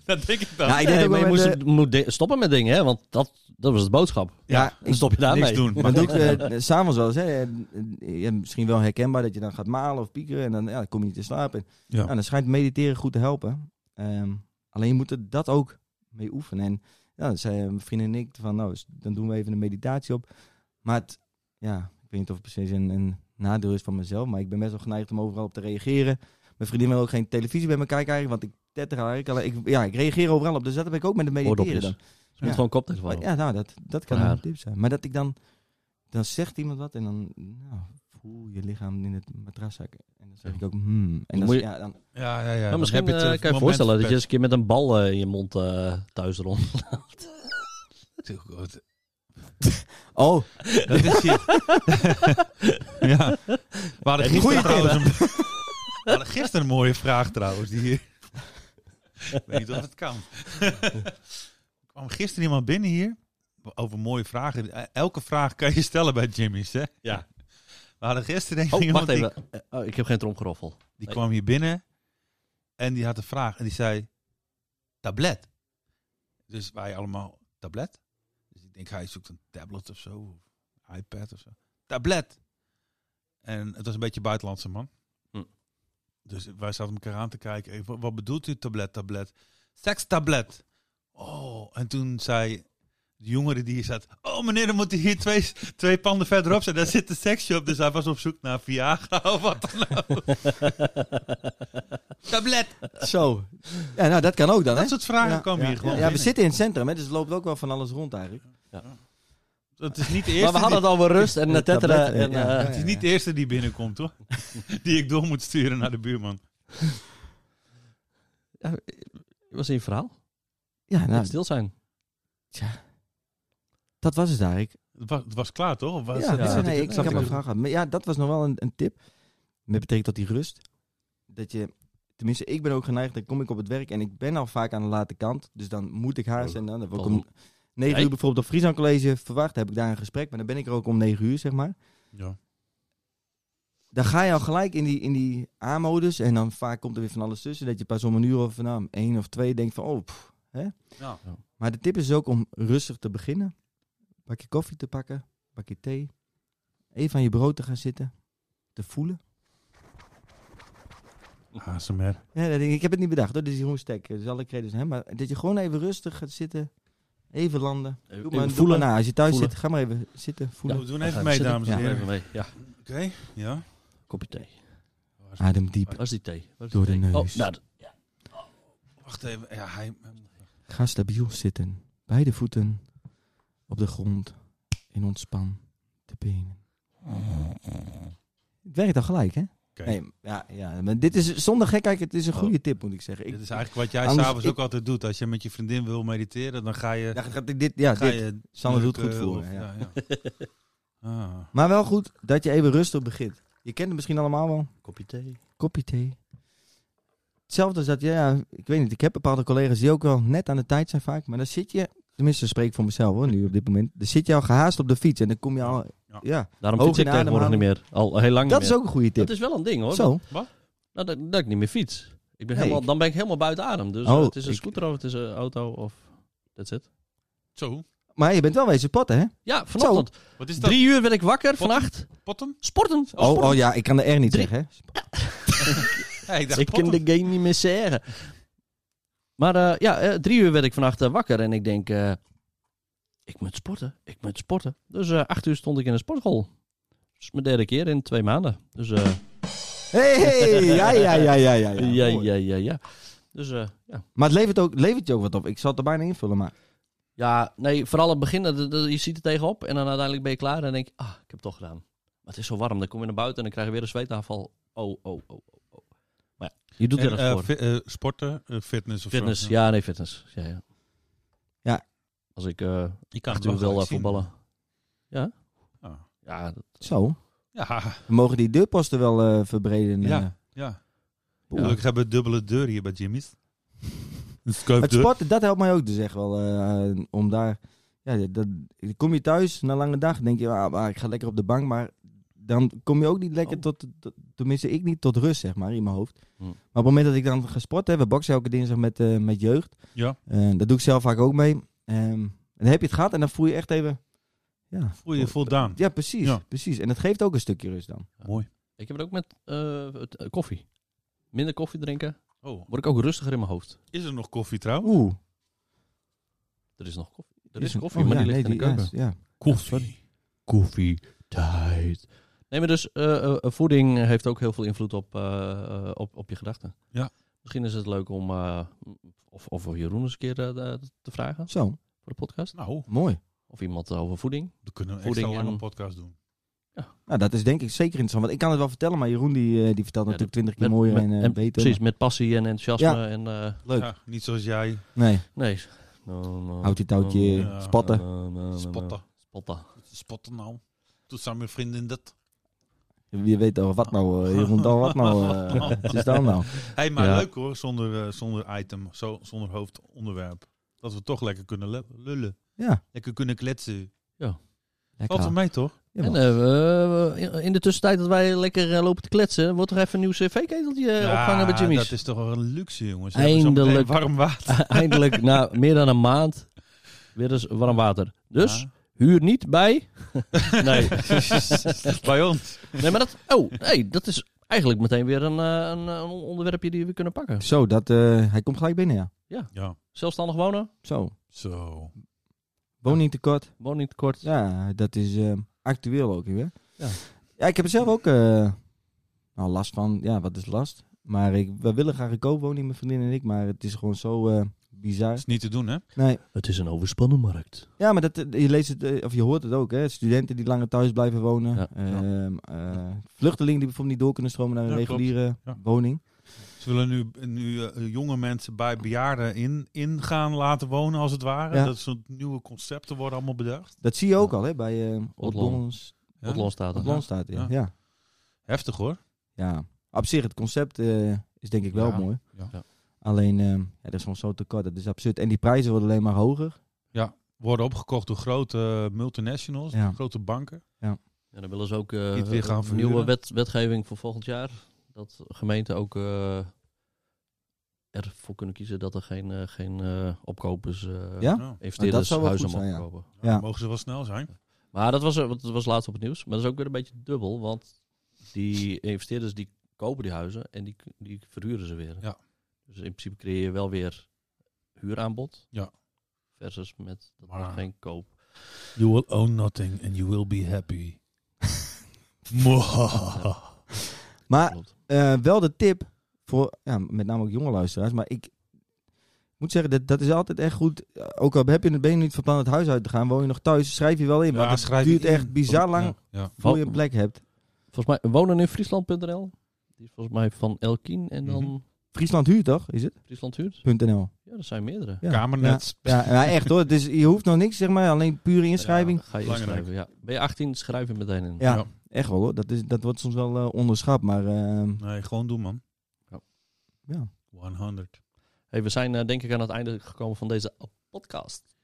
S4: dat denk ik dan.
S1: Ja, ik denk
S3: Nee,
S1: ook
S3: maar
S1: wel
S3: je
S1: met
S3: moest
S1: de-
S3: het- moet di- stoppen met dingen, hè? Want dat, dat was de boodschap.
S1: ja,
S3: Dan stop je daarmee.
S4: niks doen.
S1: Maar doe ik eh, s'avonds wel eens. Hè, En, eh, ja, misschien wel herkenbaar dat je dan gaat malen of piekeren en dan, ja, dan kom je niet te slapen.
S4: Ja.
S1: Nou, dan schijnt mediteren goed te helpen. Ehm, alleen je moet er dat ook mee oefenen. En ja, dan zei mijn vriend en ik van, nou, s- dan doen we even een meditatie op. Maar het, ja, ik weet niet of het precies een, een nadeel is van mezelf, maar ik ben best wel geneigd om overal op te reageren. Mijn vriendin wil ook geen televisie bij me kijken eigenlijk, want ik tetter eigenlijk. Alleen, ik, ja, ik reageer overal op, dus dat heb ik ook met het mediteren
S3: Oordopjes.
S1: dan.
S3: Je moet
S1: Ja.
S3: gewoon koptelefoon.
S1: Maar
S3: op.
S1: ja, nou, dat, dat kan wel een
S3: Voor haar.
S1: tip zijn. Maar dat ik dan, dan zegt iemand wat en dan nou, voel je lichaam in het matras zakken. En dan zeg
S3: Ja.
S1: ik ook, hmm. En dan,
S3: Moet je-
S1: ja, dan,
S4: Ja, ja, ja.
S3: Maar
S4: dan
S3: misschien
S4: heb je het,
S3: eh,
S4: eh,
S3: kan
S4: moment
S3: je je voorstellen dat je
S4: verpest.
S3: eens een keer met een bal eh, in je mond eh, thuis rond.
S4: oh, Natuurlijk, wat-
S1: Oh,
S4: Dat is hier. ja. We hadden
S1: Goeie
S4: gisteren
S1: tip,
S4: trouwens een, we hadden gisteren een mooie vraag trouwens. Die hier... Ik weet niet of het kan. er kwam gisteren iemand binnen hier over mooie vragen. Elke vraag kan je stellen bij Jimmy's, hè?
S3: Ja.
S4: We hadden gisteren denk ik
S3: Oh,
S4: iemand
S3: wacht even. Eh, oh, ik heb geen tromgeroffel.
S4: Die, die
S3: Nee.
S4: kwam hier binnen en die had een vraag en die zei tablet. Dus wij allemaal tablet. Dus ik denk hij zoekt een tablet of zo, of iPad of zo. Tablet. En het was een beetje een buitenlandse man.
S3: Hm.
S4: Dus wij zaten elkaar aan te kijken. Hey, wat, wat bedoelt u tablet, tablet? Sekstablet. Oh, en toen zei de jongere die hier zat... Oh meneer, dan moet hij hier twee, twee panden verderop zijn. Daar zit de seksshop. Dus hij was op zoek naar Viagra of wat dan ook. tablet.
S1: zo. Ja, nou, dat kan ook dan, hè?
S4: Dat soort vragen
S1: ja,
S4: komen
S1: ja,
S4: hier gewoon
S1: Ja, we
S4: binnen.
S1: zitten in het centrum, hè, dus het loopt ook wel van alles rond eigenlijk.
S4: Het is niet de
S3: Maar
S4: eerste,
S3: we hadden het over rust en eh, tetteren.
S1: tabletten,
S3: En,
S1: ja.
S3: eh,
S4: die, het is niet de eerste die binnenkomt, hoor. die ik door moet sturen naar de buurman.
S3: was in je verhaal?
S1: Ja, nou,
S3: Stil zijn.
S1: dat was het eigenlijk.
S4: Het was, het was klaar, toch? Of was
S1: ja,
S4: het-
S1: ja,
S4: zat
S1: nee, ik, ik
S4: zat
S1: had
S4: ik-
S1: mijn vraag gehad. Maar ja, dat was nog wel een, een tip. Met betrekking tot die rust. Dat je, tenminste, ik ben ook geneigd, dan kom ik op het werk en ik ben al vaak aan de late kant. Dus dan moet ik haast en dan, dan word ik om
S3: Waarom?
S1: 9
S3: Nee.
S1: uur bijvoorbeeld op Friesland College verwacht. Heb ik daar een gesprek, maar dan ben ik er ook om 9 uur, zeg maar.
S4: Ja.
S1: Dan ga je al gelijk in die, in die A-modus en dan vaak komt er weer van alles tussen. Dat je pas om een uur of nou, om één of twee denkt van, oh, pff, hè.
S4: Ja.
S1: Maar de tip is ook om rustig te beginnen. Een bakje koffie te pakken, een bakje thee. Even aan je brood te gaan zitten. Te voelen.
S4: ASMR.
S1: Ja, dat ding- ik heb het niet bedacht hoor, dit is Jeroen Stek. Dus alle credits aan hem. Maar dat je gewoon even rustig gaat zitten. Even landen. Doe maar,
S3: Even
S1: doe
S3: voelen.
S1: maar na. Als je thuis
S3: Voelen.
S1: zit, ga maar even zitten, voelen.
S4: we doen
S3: Dan gaan
S4: even
S3: we
S4: mee,
S3: zitten.
S4: dames en
S3: Ja,
S4: heren.
S3: even mee. Ja,
S4: Oké, ja.
S3: kopje thee.
S1: Adem diep.
S3: Waar is die thee? Waar is
S1: Door
S3: die
S1: de
S3: thee?
S1: neus.
S3: Oh, nou, d-
S4: Wacht even. Ja, hij...
S1: Ga stabiel zitten. Beide voeten op de grond. En ontspan de benen. Het werkt al gelijk, hè?
S4: Oké. Oh.
S1: Nee, ja, ja, maar dit is zonder gekheid, het is een goede tip, moet ik zeggen. Ik,
S4: Dit is eigenlijk wat jij
S1: Anders-
S4: s'avonds
S1: ik-
S4: ook altijd doet. Als je met je vriendin wil mediteren, dan ga je...
S1: ja, gaat ik dit, ja,
S4: ga
S1: dit.
S4: je
S1: Sander doet het goed
S4: drukken
S1: voor.
S4: of-
S1: me, ja.
S4: ja, ja. Ah.
S1: Maar wel goed dat je even rustig begint. Je kent het misschien allemaal wel.
S3: kopje thee.
S1: Kopje thee. Hetzelfde als dat, ja, ja, ik weet niet, ik heb bepaalde collega's die ook wel net aan de tijd zijn vaak. Maar dan zit je, tenminste spreek ik voor mezelf hoor, nu op dit moment. Dan zit je al gehaast op de fiets en dan kom je al,
S4: Ja.
S1: ja.
S3: Daarom
S1: Hoog
S3: fiets ik
S1: in
S3: tegenwoordig niet
S1: ademhaling.
S3: meer. Al heel lang
S1: Dat
S3: niet
S1: is
S3: meer.
S1: ook een goede
S3: Dat
S1: tip.
S3: is wel een ding, hoor.
S1: Zo,
S3: Nou, dat, dat ik niet meer fiets. Ik ben
S1: Nee,
S3: helemaal,
S1: ik-
S3: dan ben ik helemaal buiten adem. Dus
S1: Oh,
S3: eh, het is een
S1: ik-
S3: scooter of het is een auto of... That's it.
S4: Zo,
S1: maar je bent wel wezen potten, hè?
S3: Ja, vanochtend.
S4: wat is dat?
S3: Drie uur werd ik wakker
S4: Potten?
S3: vannacht.
S4: potten?
S3: Sporten.
S1: Oh,
S3: Sporten.
S1: oh ja, ik kan de R niet
S3: Drie-
S1: zeggen, hè?
S4: Hey, ik dacht
S3: ik
S4: potten.
S3: kan de game niet meer zeggen. Maar eh, ja, eh, drie uur werd ik vannacht eh, wakker en ik denk... eh, ik moet sporten, ik moet sporten. Dus eh, acht uur stond ik in een sportschool. Dat is mijn derde keer in twee maanden. Dus eh,
S1: Hey, hey, ja, ja, ja, ja, ja. ja.
S3: ja,
S1: Mooi.
S3: ja, ja, ja. Dus eh, ja.
S1: Maar het levert, ook, levert je ook wat op. Ik zal het er bijna invullen, maar...
S3: Ja, nee, vooral het begin, dat- dat- je ziet er tegenop en dan uiteindelijk ben je klaar en denk je, ah, ik heb het toch gedaan. Maar het is zo warm, dan kom je naar buiten en dan krijg je weer een zweetaanval. Oh, oh, oh, oh, oh. Maar ja, je doet
S4: En,
S3: ergens
S4: eh,
S3: voor.
S4: fi- eh, sporten, eh, fitness of
S3: Fitness,
S4: zo.
S3: ja, nee, fitness. Ja, ja.
S1: Ja.
S3: Als ik eh
S4: Ik
S3: acht uur wil eh, voetballen. Ja?
S1: Oh.
S4: Ah.
S3: Ja, dat,
S1: Zo,
S4: Ja,
S1: we mogen die deurposten wel eh, verbreden. eh.
S4: Ja. ja.
S1: Oeh.
S4: Gelukkig hebben we dubbele deur hier bij Jimmy's. Een
S1: Het
S4: scoopdeur.
S1: sporten, dat helpt mij ook dus echt wel. eh, om daar... Ja, dat, kom je thuis na een lange dag, denk je, ah, maar ik ga lekker op de bank. Maar dan kom je ook niet lekker
S3: Oh.
S1: tot, tot- Tenminste, ik niet tot rust, zeg maar, in mijn hoofd.
S3: Hm.
S1: Maar op het moment dat ik dan ga sporten... hè, We boksen elke dinsdag met, eh, met jeugd.
S4: Ja,
S1: Eh, dat doe ik zelf vaak ook mee. Ehm, dan heb je het gehad en dan voel je echt even... Ja,
S4: voel je je voldaan.
S1: ja, precies,
S4: Ja.
S1: precies. En dat geeft ook een stukje rust dan.
S4: Mooi.
S3: ik heb het ook met eh, het- eh, koffie. Minder koffie drinken,
S4: Oh,
S3: word ik ook rustiger in mijn hoofd.
S4: is er nog koffie trouwens?
S1: Oeh.
S3: Er is nog koffie. Er
S1: dit
S3: is
S1: een-
S3: koffie,
S1: oh,
S3: maar
S1: ja,
S3: die ligt
S1: nee,
S3: in de keuken.
S1: ja, ja.
S4: Koffie.
S3: Koffie tijd. Nee, maar dus eh, eh, voeding heeft ook heel veel invloed op, eh, eh, op, op je gedachten.
S4: Ja.
S3: Misschien is het leuk om, eh, of, of we Jeroen eens een keer eh, te vragen
S1: Zo,
S3: voor de podcast.
S4: Nou,
S1: mooi.
S3: Of iemand over voeding.
S4: we kunnen een
S3: Voeding
S4: extra lange
S3: en-
S4: podcast doen.
S1: Nou, dat is denk ik zeker interessant. Want ik kan het wel vertellen, maar Jeroen die, eh, die vertelt
S3: Ja,
S1: natuurlijk twintig keer mooier
S3: met-
S1: en, eh,
S3: en
S1: beter.
S3: Precies, met passie en enthousiasme.
S1: Ja.
S3: En, eh,
S1: Leuk.
S4: Ja, niet zoals jij.
S1: Nee,
S3: nee. No, no,
S1: houtje touwtje,
S3: no,
S4: Ja.
S1: spatten.
S3: no, no, no, no.
S4: Spotten.
S3: Spotten.
S4: Spotten nou. Doet samen met vrienden dat.
S1: Wie weet al wat nou, eh, je moet al wat nou. eh, het is dan nou.
S4: hey, maar
S3: Ja.
S4: leuk hoor, zonder, eh, zonder item, zo, zonder hoofdonderwerp. Dat we toch lekker kunnen lu- lullen.
S1: Ja,
S4: Lekker kunnen kletsen. Valt
S1: lekker.
S4: wel mee toch?
S3: En
S1: Jawel.
S3: eh, we- we- in de tussentijd dat wij lekker eh, lopen te kletsen, wordt er even een nieuw cv-keteltje eh, opgehangen bij Jimmy's.
S4: dat is toch wel een luxe jongens. We hebben zo meteen
S3: Eindelijk.
S4: warm water.
S3: Eindelijk, na meer dan een maand, weer eens warm water. Dus huur niet bij. nee.
S4: Ja. bij ons.
S3: nee, maar dat. Oh, nee, dat is eigenlijk meteen weer een, eh, een, eh, een onderwerpje die we kunnen pakken.
S1: Zo, dat, eh, hij komt gelijk binnen, ja.
S4: Ja,
S3: Zelfstandig wonen,
S1: Zo,
S4: zo.
S1: woningtekort.
S3: woning tekort.
S1: Ja, dat is eh, actueel ook weer.
S3: Ja.
S1: Ja. ja, ik heb er zelf ook eh, nou, last van. Ja, wat is last? Maar ik, we willen graag een koopwoning, mijn vriendin en ik. Maar het is gewoon zo eh, bizar.
S4: Dat is niet te doen hè?
S1: Nee.
S3: Het is een overspannen markt.
S1: Ja, maar dat, je leest het, eh, of je hoort het ook, hè? Studenten die langer thuis blijven wonen.
S3: Ja,
S1: Ehm, eh, vluchtelingen die bijvoorbeeld niet door kunnen stromen naar een
S4: Ja, klopt.
S1: reguliere
S4: Ja.
S1: woning.
S4: Ze willen nu, nu eh, jonge mensen bij bejaarden in, in gaan laten wonen, als het ware.
S1: Ja.
S4: Dat soort nieuwe concepten worden allemaal bedacht.
S1: Dat zie je ook al, hè? Bij uh,
S3: Oudlon.
S4: Ja.
S3: Wat loon staat er.
S1: staat. Ja.
S4: Ja.
S1: Ja.
S4: Heftig hoor.
S1: ja. Op zich, het concept eh, is denk ik wel
S4: Ja.
S1: mooi.
S4: Ja.
S3: Ja.
S1: Alleen, ehm ja, dat is gewoon zo tekort. Dat is absurd. En die prijzen worden alleen maar hoger.
S4: Worden opgekocht door grote eh, multinationals,
S1: Ja.
S4: grote banken.
S3: Ja, dan willen ze ook eh,
S4: Niet weer gaan
S3: een nieuwe
S4: verhuren.
S3: wet, wetgeving voor volgend jaar. Dat gemeenten ook eh, ervoor kunnen kiezen dat er geen, eh, geen eh, opkopers, eh
S1: Ja?
S4: Nou,
S1: Nou, dat
S3: investeerders
S1: zou wel
S3: huizen
S1: goed
S3: mogen
S1: zijn,
S3: kopen.
S1: Ja.
S4: dan Mogen ze wel snel zijn.
S3: Maar dat was, er- want dat was laatst op het nieuws. Maar dat is ook weer een beetje dubbel, want die investeerders die kopen die huizen en die, die verhuren ze weer.
S4: Ja.
S3: Dus in principe creëer je wel weer huuraanbod.
S4: Ja.
S3: Versus met dat
S4: Maar-
S3: er geen koop.
S4: You will own nothing and you will be happy.
S1: Maar
S3: Klopt.
S1: eh, wel de tip voor ja, met name ook jonge luisteraars. Maar ik moet zeggen, dat, dat is altijd echt goed. Eh, Ook al heb je het benen niet van plan het huis uit te gaan, woon je nog thuis, schrijf je wel in. maar het duurt echt bizar lang
S4: Ja, ja.
S1: voor je een plek hebt.
S3: Volgens mij woneninfriesland.nl. Die is volgens mij van Elkien en dan
S4: Mhm.
S1: Friesland huur toch, is het?
S3: Friesland Huurt.
S1: .nl.
S3: Ja, dat zijn meerdere.
S1: Ja.
S4: Kamernet.
S1: Ja, ja, echt hoor. Dus je hoeft nog niks, zeg maar. Alleen pure inschrijving.
S3: Ja, ga je
S4: Belangrijk.
S3: inschrijven, ja. Ben je 18, schrijf je meteen in.
S1: Ja,
S4: Ja.
S1: echt wel hoor. Dat, is, dat wordt soms wel eh, onderschat, maar... ehm,
S4: Nee, gewoon doen man.
S3: Ja.
S1: Oh. Ja.
S4: 100.
S3: Hey, we zijn eh, denk ik aan het einde gekomen van deze podcast.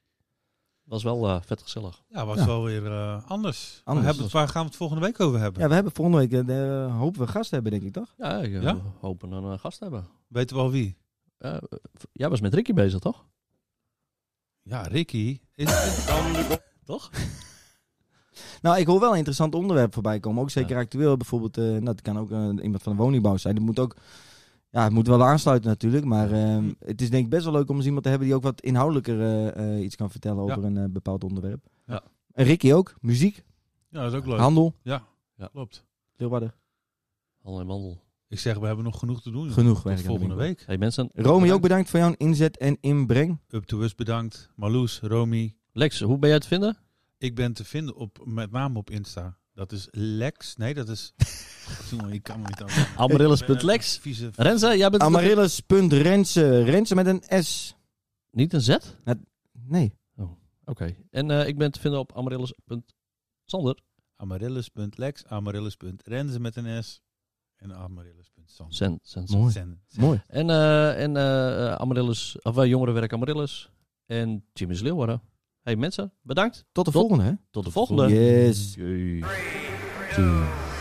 S3: Was wel eh, vet gezellig.
S4: Ja, was
S1: Ja.
S4: wel weer eh, anders. We
S1: Anders.
S4: hebben het- waar gaan we het volgende week over hebben?
S1: ja, we hebben volgende week... eh, de- hopen we gasten hebben, denk ik, toch?
S3: Ja, ik eh,
S4: Ja?
S3: hoop een eh, gast te hebben.
S4: Weten we al wie?
S3: Ja, eh, jij was met Ricky bezig, toch?
S4: Ja, Ricky. Is,
S3: Toch?
S1: Nou, ik hoor wel een interessant onderwerp voorbij komen. Ook zeker actueel. Bijvoorbeeld, eh, nou, dat kan ook eh, iemand van de woningbouw zijn. Dat moet ook... Ja, het moet wel aansluiten natuurlijk. Maar ehm, het is denk ik best wel leuk om eens iemand te hebben... die ook wat inhoudelijker eh, eh, iets kan vertellen
S4: Ja.
S1: over een eh, bepaald onderwerp.
S4: Ja.
S1: En Ricky ook. Muziek,
S4: ja, dat is ook leuk.
S1: handel.
S4: Klopt.
S1: Leeuwarden.
S3: Handel en wandel.
S4: Ik zeg, we hebben nog genoeg te doen.
S1: Genoeg
S4: Tot
S1: werk. aan de
S4: volgende
S1: winkel.
S4: week.
S3: Hey mensen,
S1: Romy, ook bedankt voor jouw inzet en inbreng.
S4: Up to us bedankt. Marloes, Romy.
S3: Lex, hoe ben jij te vinden?
S4: Ik ben te vinden op, met name op Insta. Dat is Lex. Nee, dat is... Jongen, ik kan me niet aan.
S3: Amaryllis.lex.
S4: Vieze...
S3: Renze, jij bent...
S1: Amaryllis.rensen. Rensen met een S.
S3: Niet een Z?
S1: Nee.
S3: Oké. En eh, ik ben te vinden op amaryllis.sander.
S4: Amaryllis.lex. Amaryllis.renze met een S. En Amaryllis.sans.
S3: Sen, sen,
S1: Mooi.
S4: Zen.
S1: Mooi.
S3: En, eh en eh, eh, Amaryllis, of eh, jongerenwerk Amaryllis. En Jimmy's Leeuwarden. Hey mensen, bedankt.
S1: Tot de
S3: Tot-
S1: volgende, hè?
S3: Tot de volgende.
S1: Yes.
S3: Jee.
S1: Two.